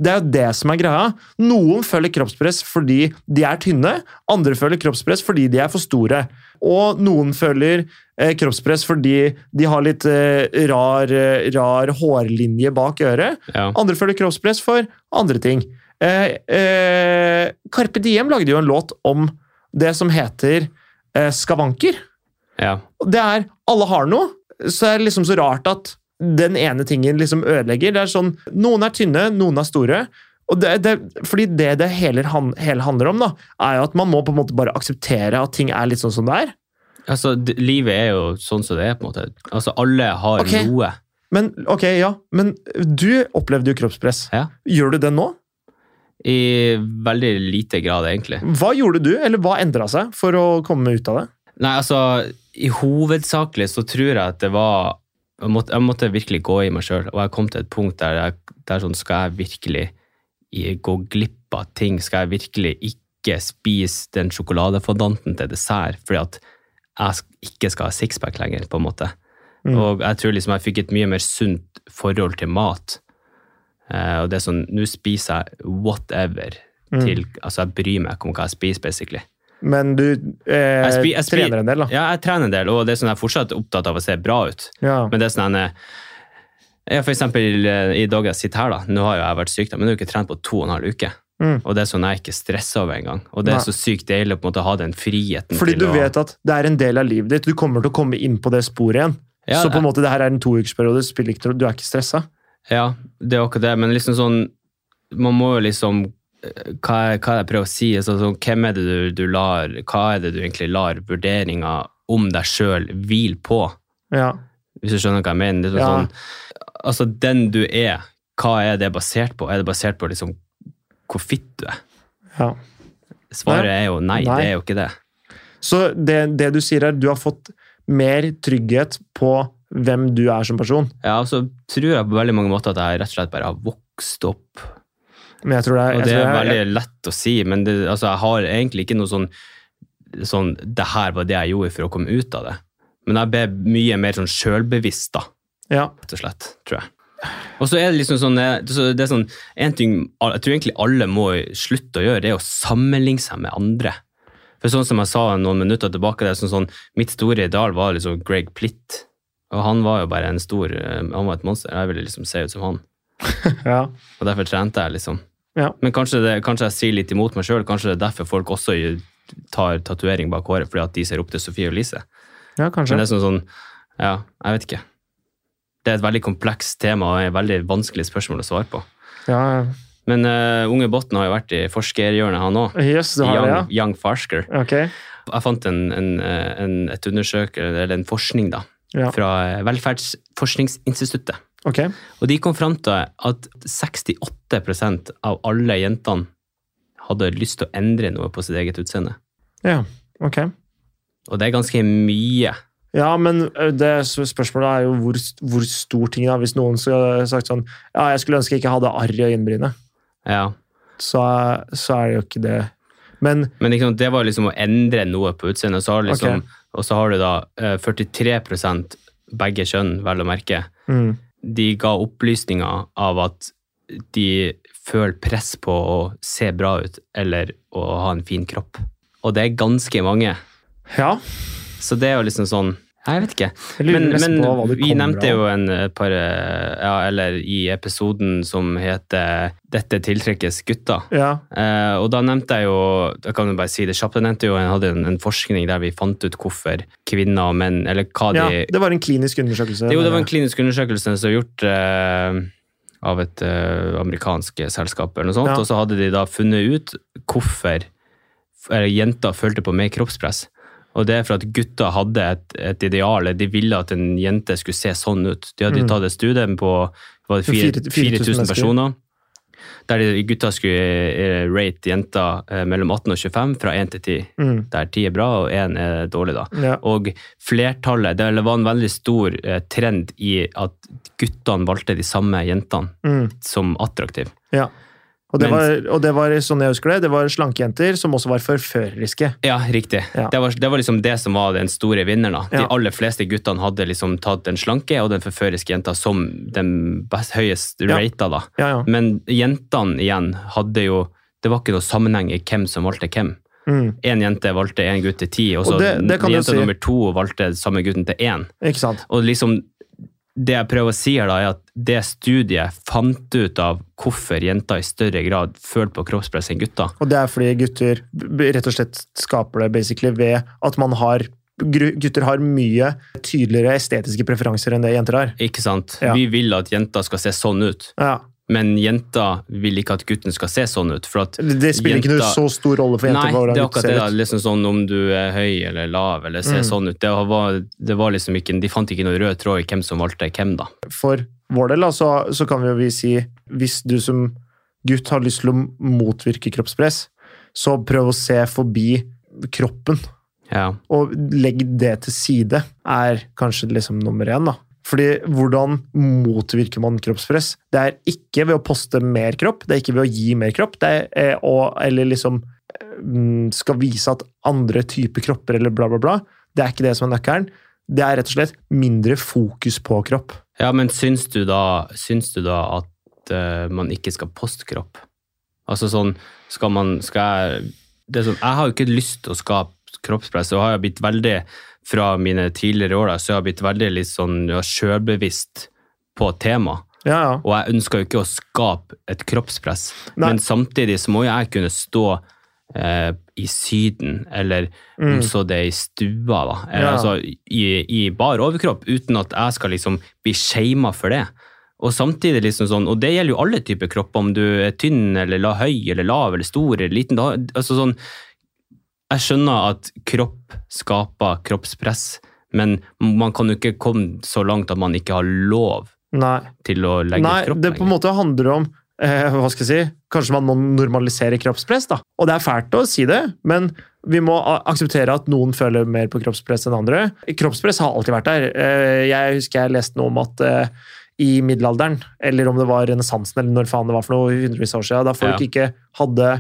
Det er jo det som er greia. Noen føler kroppspress fordi de er tynne, andre føler kroppspress fordi de er for store. Og noen føler eh, kroppspress fordi de har litt eh, rar, eh, rar hårlinje bak øret.
Ja.
Andre føler kroppspress for andre ting. Eh, eh, Carpe Diem lagde jo en låt om det som heter eh, skavanker.
Ja.
Og Det er Alle har noe, så er det liksom så rart at den ene tingen liksom ødelegger. Det er sånn Noen er tynne, noen er store. Og det, det, fordi det det hele, han- hele handler om, da, er jo at man må på en måte bare akseptere at ting er litt sånn som det er.
Altså, d- livet er jo sånn som det er, på en måte. Altså, alle har
Ok.
noe.
Men ok, ja, men du opplevde jo kroppspress.
Ja.
Gjør du det nå?
I veldig lite grad, egentlig.
Hva gjorde du, eller hva endra seg for å komme ut av det?
Nei, altså, i hovedsakelig så tror jeg at det var Jeg måtte, jeg måtte virkelig gå i meg sjøl, og jeg kom til et punkt der, jeg, der sånn, skal jeg virkelig i- gå glipp av ting? Skal jeg virkelig ikke spise den sjokoladefondanten til dessert fordi at jeg sk- ikke skal ha sixpack lenger, på en måte?
Mm.
Og jeg tror liksom jeg fikk et mye mer sunt forhold til mat. Eh, og det er sånn, nå spiser jeg whatever
Mm.
til Altså, jeg bryr meg ikke om hva jeg spiser, basically.
Men du eh,
Jeg spi- jeg spi-
trener en del, da.
Ja, jeg trener en del, og det er sånn jeg er fortsatt opptatt av å se bra ut.
Ja.
Men det er sånn jeg, jeg For eksempel eh, i dag jeg sitter her, da. Nå har jo jeg vært syk, da, men nå har jeg ikke trent på to og en halv uke.
Mm.
Og det er sånn jeg er ikke stressa over engang. Og det er
Nei.
så sykt deilig å på en måte ha den friheten
Fordi
til
du
å
vet at det er en del av livet ditt. Du kommer til å komme inn på det sporet igjen.
Ja,
så på en måte det her er en toukersperiode. spiller ikke- Du er ikke stressa.
Ja, det er akkurat det, men liksom sånn Man må jo liksom eh, hva er, hva er det jeg prøver å si? Altså, sånn, hvem er det du, du lar Hva er det du egentlig lar vurderinga om deg sjøl hvile på?
Ja.
Hvis du skjønner hva jeg mener. Det er
Ja.
sånn, altså, den du er, hva er det basert på? Er det basert på liksom, hvor fitt du er?
ja.
Svaret er jo nei,
Nei.
det er jo ikke det.
Så det, det du sier er du har fått mer trygghet på hvem du er som person.
Ja, og så tror jeg på veldig mange måter at jeg rett og slett bare har vokst opp.
Men jeg tror det
Og
er, altså, jeg
det
tror
er
det er-
veldig lett å si, men det, altså, jeg har egentlig ikke noe sånn, sånn Det her var det jeg gjorde for å komme ut av det. Men jeg ble mye mer sånn sjølbevisst, da.
ja.
rett og slett, tror jeg. Og så er det liksom sånn, eh, så det er sånn En ting jeg tror egentlig alle må slutte å gjøre, det er å sammenligne seg med andre. For sånn som jeg sa noen minutter tilbake, det er sånn, sånn mitt store ideal var liksom Greg Plitt. Og han var jo bare en stor eh, Han var et monster. Jeg ville liksom se ut som han.
ja.
Og derfor trente jeg, liksom.
Ja.
Men kanskje, det, kanskje jeg sier litt imot meg sjøl. Kanskje det er derfor folk også tar tatovering bak håret, fordi at de ser opp til Sofie Elise. Men
Ja,
det
kanskje.
er sånn, sånn Ja, jeg vet ikke. Det er et veldig komplekst tema og et veldig vanskelig spørsmål å svare på.
Ja, ja.
Men eh, Unge Botten har jo vært i forskerhjørnet, han òg.
Yes, du har
Young,
det, ja.
young Farsker.
Ok.
Jeg fant en, en, eh, en, et undersøk, eller en forskning, da,
Ja.
fra eh, Velferdsforskningsinstituttet.
ok.
Og de kom fram til at 68 av alle jentene hadde lyst til å endre noe på sitt eget utseende.
Ja, ok.
Og det er ganske mye.
Ja, men ø, det s- spørsmålet er jo hvor, hvor stor ting er. Hvis noen skulle sagt sånn Ja, jeg skulle ønske jeg ikke hadde arr i øyenbrynet,
Ja.
så, så er det jo ikke det. Men
Men ikke sant, det var liksom å endre noe på utseendet. Så har du liksom,
Ok.
Og så har du da eh, 43 begge kjønn, vel å merke.
mm,
De ga opplysninger av at de føler press på å se bra ut eller å ha en fin kropp. Og det er ganske mange.
Ja.
Så det er jo liksom sånn Jeg vet ikke.
Jeg lurer
Men,
nesten
men
på hva det
vi
kommer
nevnte
av.
jo en et par eh, ja, Eller i episoden som heter 'Dette tiltrekkes gutta'.
Ja.
Eh, og da nevnte jeg jo jeg kan jo bare si det kjapt, jeg nevnte jo, jeg hadde en, en forskning der vi fant ut hvorfor kvinner og menn eller hva de,
ja, det var en klinisk undersøkelse.
Jo, det var en klinisk undersøkelse som var gjort eh, av et eh, amerikansk selskap, eller noe sånt,
Ja.
og så hadde de da funnet ut hvorfor f- eller jenter følte på mer kroppspress. Og det er for at gutta hadde et, et ideal, de ville at en jente skulle se sånn ut. De hadde
Mm.
tatt et studie på var det
Fire-
fire- 4000
4000 mennesker.
personer, der de gutta skulle eh, rate jenter eh, mellom 18 og 25 fra 1 til 10.
Mm.
Der 10 er bra, og 1 er dårlig, da.
Ja.
Og flertallet Det var en veldig stor eh, trend i at guttene valgte de samme jentene
Mm.
som attraktive.
ja. Og, det
Men-
var, og det var, sånn jeg husker det, det var slankejenter som også var forføreriske.
Ja, riktig.
Ja.
Det, var, det var liksom det som var den store vinneren. da. De
Ja.
aller fleste guttene hadde liksom tatt den slanke og den forføriske jenta som den best, høyest
Ja.
rata, da.
Ja, ja.
Men jentene igjen hadde jo Det var ikke noe sammenheng i hvem som valgte hvem.
Mm.
Én jente valgte én gutt til ti, og så
Og det- det kan du
jente
si.
nummer to valgte samme gutten til én.
Ikke sant?
Og liksom, det jeg prøver å si her da, er at det studiet fant ut av hvorfor jenter i større grad føler på kroppspress enn gutter.
Og det er fordi gutter b- b- rett og slett skaper det basically ved at man har gru- Gutter har mye tydeligere estetiske preferanser enn det jenter har.
Ikke sant?
Ja.
Vi vil at jenter skal se sånn ut,
Ja.
men jenter vil ikke at gutten skal se sånn ut. For at
Det det spiller ikke noe
Jenta-
så stor rolle for
Nei,
jenter hvordan
det er
gutter
akkurat det. da.
ser ut.
Liksom sånn Om du er høy eller lav eller ser
Mm.
sånn ut. Det var, det var liksom ikke, De fant ikke noe rød tråd i hvem som valgte hvem, da.
For vår del da, så, så kan vi jo vi si hvis du som gutt har lyst til å motvirke kroppspress, så prøv å se forbi kroppen.
Ja.
Og legg det til side, er kanskje liksom nummer én. da. Fordi hvordan motvirker man kroppspress? Det er ikke ved å poste mer kropp, det er ikke ved å gi mer kropp, det er, eh, og, eller liksom eh, mm, skal vise at andre typer kropper eller bla, bla, bla. Det er ikke det som er nøkkelen. Det er rett og slett mindre fokus på kropp.
ja, men syns du da, syns du da at eh, man ikke skal postkropp? Altså sånn, skal man skal jeg, det er sånn, jeg har jo ikke lyst til å skape kroppspress, og har jeg blitt veldig fra mine tidligere år, da, så jeg har blitt veldig litt sånn ja, sjølbevisst på temaet.
Ja, ja.
Og jeg ønsker jo ikke å skape et kroppspress,
Nei.
men samtidig så må jo jeg kunne stå eh, i Syden, eller om
Mm.
så det er i stua, da. Eller,
Ja.
Altså i, i bar overkropp, uten at jeg skal liksom bli shama for det. Og samtidig liksom sånn, og det gjelder jo alle typer kropper, om du er tynn eller la, høy eller lav eller stor eller liten. Da, altså sånn, jeg skjønner at kropp skaper kroppspress, men man kan jo ikke komme så langt at man ikke har lov
Nei.
til å legge
Nei,
ut kropp
det på en
lenger.
måte handler om eh, hva skal jeg si, Kanskje man må normalisere kroppspress, da. Og det er fælt å si det, men vi må a- akseptere at noen føler mer på kroppspress enn andre. Kroppspress har alltid vært der. Eh, jeg husker jeg leste noe om at eh, i middelalderen, eller om det var renessansen, eller når faen det var for noe hundrevis av år siden, da folk
Ja.
ikke hadde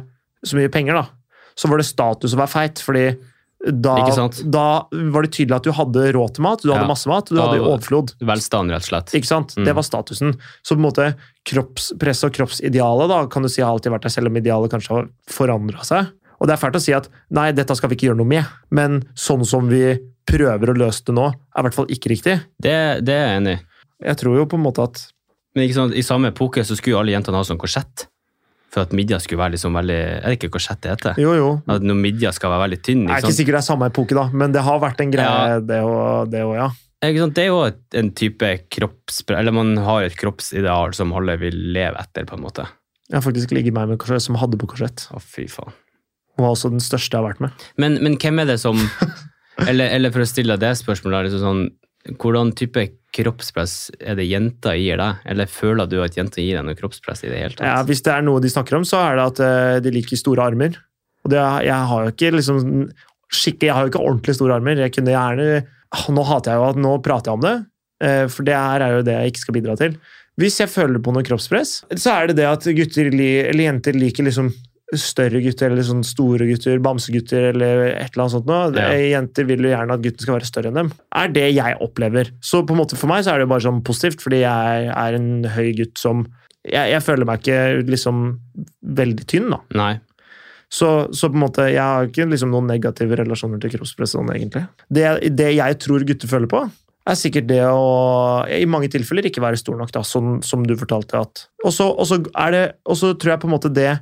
så mye penger, da, så var det status å være feit, fordi da,
Ikke sant?
da var det tydelig at du hadde råd til mat, du hadde
Ja.
masse mat, du
Da-
hadde overflod.
Velstand, rett og slett.
Ikke sant?
Mm.
Det var statusen. Så på en måte kroppspress og kroppsidealet da, kan du si har alltid vært der, selv om idealet kanskje har forandra seg. Og det er fælt å si at nei, dette skal vi ikke gjøre noe med, men sånn som vi prøver å løse det nå, er i hvert fall ikke riktig.
Det, det er jeg enig i.
Jeg tror jo på en måte at
Men ikke sant, i samme epoke så skulle jo alle jentene ha sånn korsett. For at midja skulle være liksom veldig Er det ikke korsett det heter?
Jo, jo.
At når midja skal være veldig tynn.
Jeg er
Ikke
ikke
sant?
sikkert det er samme epoke, da, men det har vært en greie,
Ja.
det og- det òg, ja.
Ikke sant? Det er jo et- en type kropps... Eller man har et kroppsideal som alle vil leve etter, på en måte.
Jeg har faktisk ligget meg med korsett som hadde på korsett.
Å, fy faen.
Hun var også den største jeg har vært med.
Men, men hvem er det som
(laughs)
eller, eller for å stille deg det spørsmålet, liksom sånn Hvordan type kroppspress er det jenter gir deg? Eller føler du at jenter gir deg noe kroppspress i det hele
Ja,
tatt?
hvis det er noe de snakker om, så er det at eh, de liker store armer. Og det, er- jeg har jo ikke liksom skikkelig, jeg har jo ikke ordentlig store armer. Jeg kunne gjerne Ah, Nå hater jeg jo at nå prater jeg om det, eh, for det her er jo det jeg ikke skal bidra til. Hvis jeg føler på noe kroppspress, så er det det at gutter li, eller jenter liker liksom større gutter eller sånn store gutter, bamsegutter eller et eller annet sånt noe.
Ja.
Eh, Jenter vil jo gjerne at gutten skal være større enn dem. Er det jeg opplever. Så på en måte for meg så er det jo bare sånn positivt, fordi jeg er en høy gutt som Jeg, jeg føler meg ikke liksom veldig tynn, da.
Nei.
Så, så på en måte, jeg har ikke liksom noen negative relasjoner til kroppspress. Sånn, egentlig. Det, det jeg tror gutter føler på, er sikkert det å i mange tilfeller ikke være stor nok, da, som, som du fortalte. at. Og så og så er det, og så tror jeg på en måte det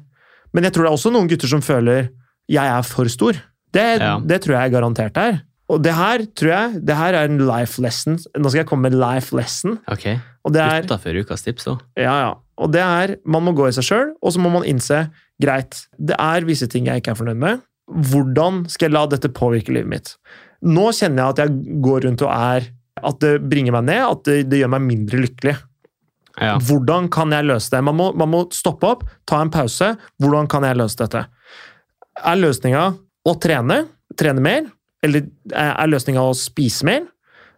Men jeg tror det er også noen gutter som føler jeg er for stor. Det,
Ja.
det tror jeg er garantert her. Og det her tror jeg, det her er en life lesson. Nå skal jeg komme med en life lesson.
Ok.
Og det er
Utafor ukas tips òg.
Ja, ja. Og det er, man må gå i seg sjøl, og så må man innse greit, det er visse ting jeg ikke er fornøyd med. Hvordan skal jeg la dette påvirke livet mitt? Nå kjenner jeg at jeg går rundt og er At det bringer meg ned, at det, det gjør meg mindre lykkelig.
Ja.
Hvordan kan jeg løse det? Man må, man må stoppe opp, ta en pause. Hvordan kan jeg løse dette? Er løsninga å trene? Trene mer? Eller eh, er løsninga å spise mer?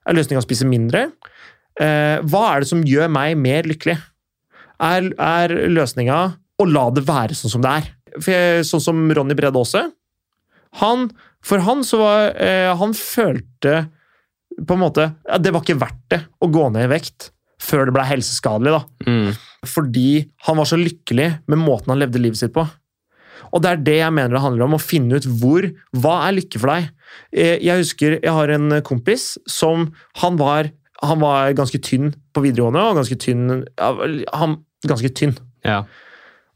Er løsninga å spise mindre? Eh, hva er det som gjør meg mer lykkelig? Er, er løsninga å la det være sånn som det er? For jeg, sånn som Ronny Brede Aase. Han, for han så var eh, Han følte på en måte ja, Det var ikke verdt det å gå ned i vekt før det ble helseskadelig, da
Mm.
fordi han var så lykkelig med måten han levde livet sitt på. Og det er det jeg mener det handler om, å finne ut hvor, hva er lykke for deg? Eh, Jeg husker, jeg har en kompis som, han var, han var ganske tynn på videregående, og ganske tynn, ja, vel, han, ganske tynn.
ja.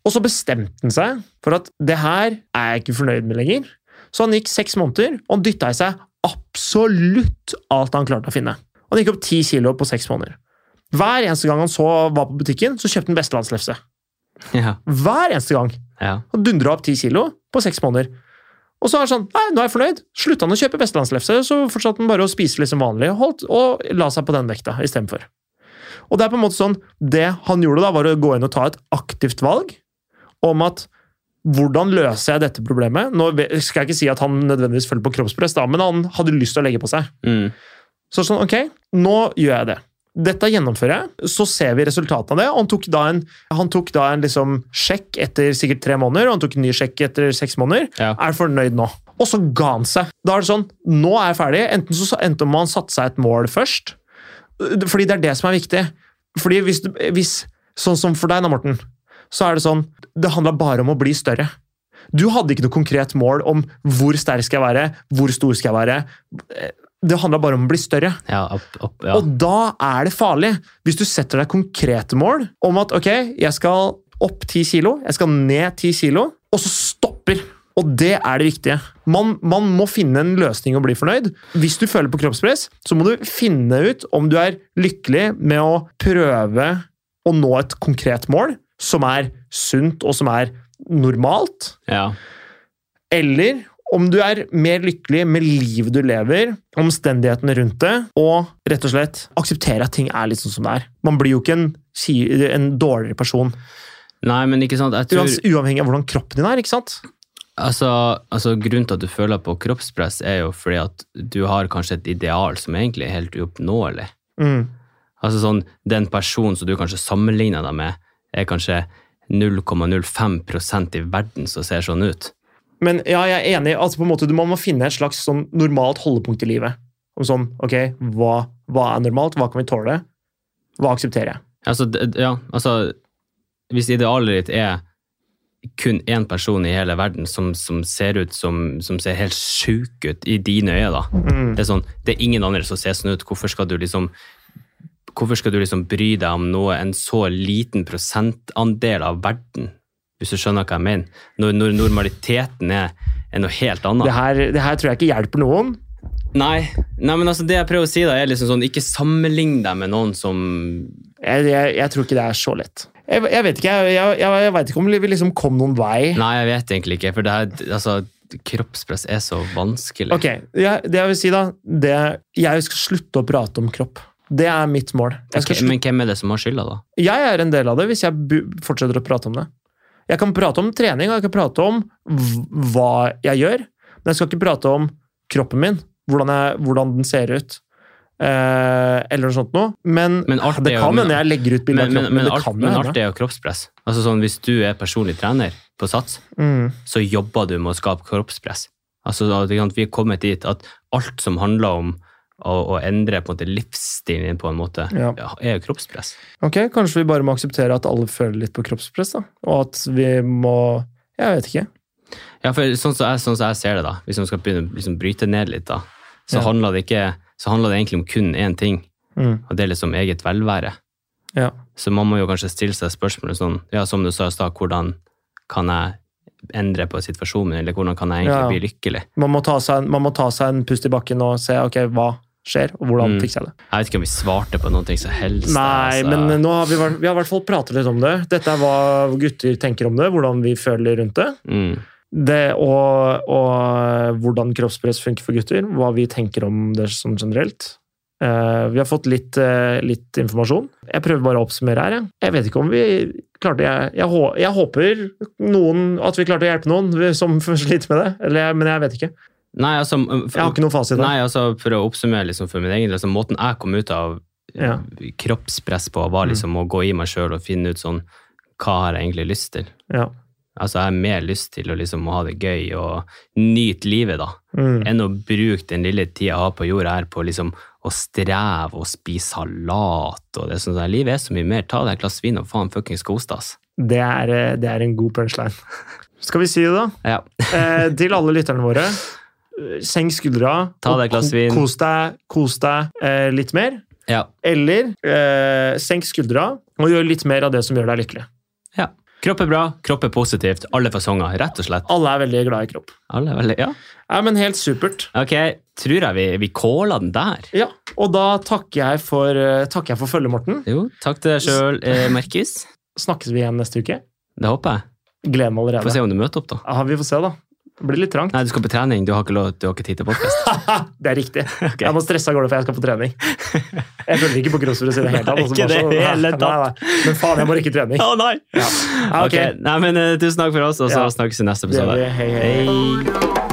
Og så bestemte han seg for at det her er jeg ikke fornøyd med lenger. Så han gikk seks måneder, og han dytta i seg absolutt alt han klarte å finne. Han gikk opp ti kilo på seks måneder. Hver eneste gang han så var på butikken, så kjøpte han bestelandslefse.
Ja.
Hver eneste gang.
Ja.
Han dundra opp 10 kilo på seks måneder. Og så er han sånn Nei, nå er jeg fornøyd. Slutta han å kjøpe vestlandslefse, så fortsatte han bare å spise litt som vanlig holdt, og la seg på den vekta istedenfor. Og det er på en måte sånn Det han gjorde da, var å gå inn og ta et aktivt valg om at hvordan løser jeg dette problemet? Nå skal jeg ikke si at han nødvendigvis følger på kroppspress, da, men han hadde lyst til å legge på seg.
Mm.
Så sånn, ok, nå gjør jeg det. Dette gjennomfører jeg, så ser vi resultatet av det. Og han tok da en, han tok da en liksom sjekk etter sikkert tre måneder, og han tok en ny sjekk etter seks måneder.
Ja.
Er fornøyd nå. Og så ga han seg. Da er det sånn, nå er jeg ferdig. Enten så endte man satte seg et mål først, fordi det er det som er viktig. Fordi hvis, du- hvis Sånn som for deg, da, Morten, så er det sånn Det handla bare om å bli større. Du hadde ikke noe konkret mål om hvor sterk skal jeg være, hvor stor skal jeg være. Det handla bare om å bli større.
ja, opp, opp, ja.
Og da er det farlig hvis du setter deg konkrete mål om at ok, jeg skal opp 10 kilo, jeg skal ned 10 kilo, og så stopper. Og det er det viktige. Man, man må finne en løsning og bli fornøyd. Hvis du føler på kroppspress, så må du finne ut om du er lykkelig med å prøve å nå et konkret mål som er sunt og som er normalt.
Ja.
Eller om du er mer lykkelig med livet du lever, omstendighetene rundt det, og rett og slett akseptere at ting er litt sånn som det er. Man blir jo ikke en, si- en dårligere person,
Nei, men ikke sant. Jeg tror,
uans, uavhengig av hvordan kroppen din er. ikke sant?
altså, altså, grunnen til at du føler på kroppspress, er jo fordi at du har kanskje et ideal som egentlig er helt uoppnåelig.
Mm.
Altså sånn, Den personen som du kanskje sammenligner deg med, er kanskje 0,05 i verden som ser sånn ut.
Men ja, jeg er enig. altså på en måte du- Man må finne et slags sånn normalt holdepunkt i livet. Om sånn, ok, hva, hva er normalt? Hva kan vi tåle? Hva aksepterer jeg?
Altså, d- d- ja, altså Hvis idealet ditt er kun én person i hele verden som, som ser ut som, som ser helt sjuk ut i dine øyne, da.
Mm.
Det er sånn, det er ingen andre som ser sånn ut. Hvorfor skal du liksom Hvorfor skal du liksom bry deg om noe en så liten prosentandel av verden? Hvis du skjønner hva jeg mener. Når, når normaliteten er, er noe helt annet.
Det, her, det her tror jeg ikke hjelper noen.
Nei, nei, men altså det jeg prøver å si da, er liksom sånn, ikke sammenlign deg med noen som
Jeg, jeg, jeg tror ikke det er så lett. Jeg, jeg vet ikke jeg, jeg, jeg, jeg vet ikke om vi liksom kom noen vei.
Nei, jeg vet egentlig ikke, for det her, altså, kroppspress er så vanskelig.
Ok, ja, Det jeg vil si, da det, Jeg skal slutte å prate om kropp. Det er mitt mål. Jeg, skal
Ok,
slutte,
men hvem er det som har skylda, da?
jeg er en del av det hvis jeg bu- fortsetter å prate om det. Jeg kan prate om trening, og jeg kan prate om v- hva jeg gjør, men jeg skal ikke prate om kroppen min, hvordan, jeg, hvordan den ser ut, eh, eller noe sånt noe. Men,
Men alt
det
er jo-
kan
men-
hende jeg legger ut bilde av
Men, men,
kroppen min.
men,
det
alt,
kan
men
jo
alt
hende.
er jo kroppspress. Altså sånn, Hvis du er personlig trener på Sats,
Mm.
så jobber du med å skape kroppspress. Altså, at, ikke sant, vi er kommet dit at alt som handler om å, å endre på en måte, livsstilen din, på en måte,
Ja.
er jo kroppspress.
Ok, Kanskje vi bare må akseptere at alle føler litt på kroppspress, da. og at vi må Jeg vet ikke.
Ja, for sånn som jeg, sånn som jeg ser det, da, hvis man skal begynne å liksom, bryte ned litt, da, så,
Ja.
handler det ikke, så handler det egentlig om kun én ting,
Mm.
og det er liksom eget velvære.
Ja.
Så man må jo kanskje stille seg spørsmålet sånn, ja, som du sa i stad, hvordan kan jeg endre på situasjonen min, eller hvordan kan jeg egentlig
Ja.
bli lykkelig?
Man må, ta seg en, man må ta seg en pust i bakken og se ok, hva skjer, og hvordan
Mm.
fikser jeg det.
Jeg vet ikke om vi svarte på noen ting som helst.
Nei,
altså.
men nå har vi, vært- vi har i hvert fall pratet litt om det. Dette er hva gutter tenker om det, hvordan vi føler rundt det.
mm.
det og, og hvordan kroppspress funker for gutter. Hva vi tenker om det sånn generelt. Eh, vi har fått litt, eh, litt informasjon. Jeg prøver bare å oppsummere her. Jeg, jeg vet ikke om vi klarte jeg, jeg, hå- jeg håper noen, at vi klarte å hjelpe noen som (laughs) sliter med det, eller, jeg- men jeg vet ikke.
Nei, altså,
Jeg har ikke noen fasit. der.
Nei, altså For å oppsummere liksom for min egen del, så måten jeg kom ut av eh,
Ja.
kroppspress på,
Mm.
var liksom å gå i meg sjøl og finne ut sånn Hva har jeg egentlig lyst til?
Ja.
Altså Jeg har mer lyst til å liksom ha det gøy og nyte livet, da,
Mm.
enn å bruke den lille tida jeg har på jorda her på liksom å streve og spise salat og det sånn der. Livet er så mye mer. Ta deg et glass vin og faen fuckings kos deg, ass.
Det, er, eh, det er en god punchline. (laughs) Skal vi si det, da?
Ja. (laughs)
Eh, til alle lytterne våre. eh, Senk skuldra.
Ta deg et glass vin.
Kos deg, kos deg eh, litt mer.
ja.
Eller eh, senk skuldra og gjør litt mer av det som gjør deg lykkelig.
ja. Kropp er bra, kropp er positivt. Alle fasonger, rett og slett.
Alle er veldig glad i kropp.
Alle er veldig, ja.
Nei, men helt supert.
Ok, tror jeg vi, vi kåla den der.
Ja, Og da takker jeg for, eh, takker jeg for følget, Morten.
Jo, takk til deg sjøl, eh, Markus.
Snakkes vi igjen neste uke?
Det håper jeg.
Gleder meg
Får
allerede.
se om du møter opp, da.
Ja, vi får se, da. Det blir litt trangt.
Nei, du skal på trening. Du har ikke, lov, du har ikke tid til podkast.
Det er riktig. Jeg må stresse av gårde, for jeg skal på trening. Jeg følger ikke på crossfit i det hele tatt.
Nei,
altså,
ikke det
bare så-
hele
Nei, nei, nei. Men faen, jeg må rekke trening.
(laughs) Å nei!
Ja, ok.
Ok, Nei, men eh, tusen takk for oss, og så
Ja.
snakkes i neste
Det gjør
episode.
vi. Hei, hei.
Hei.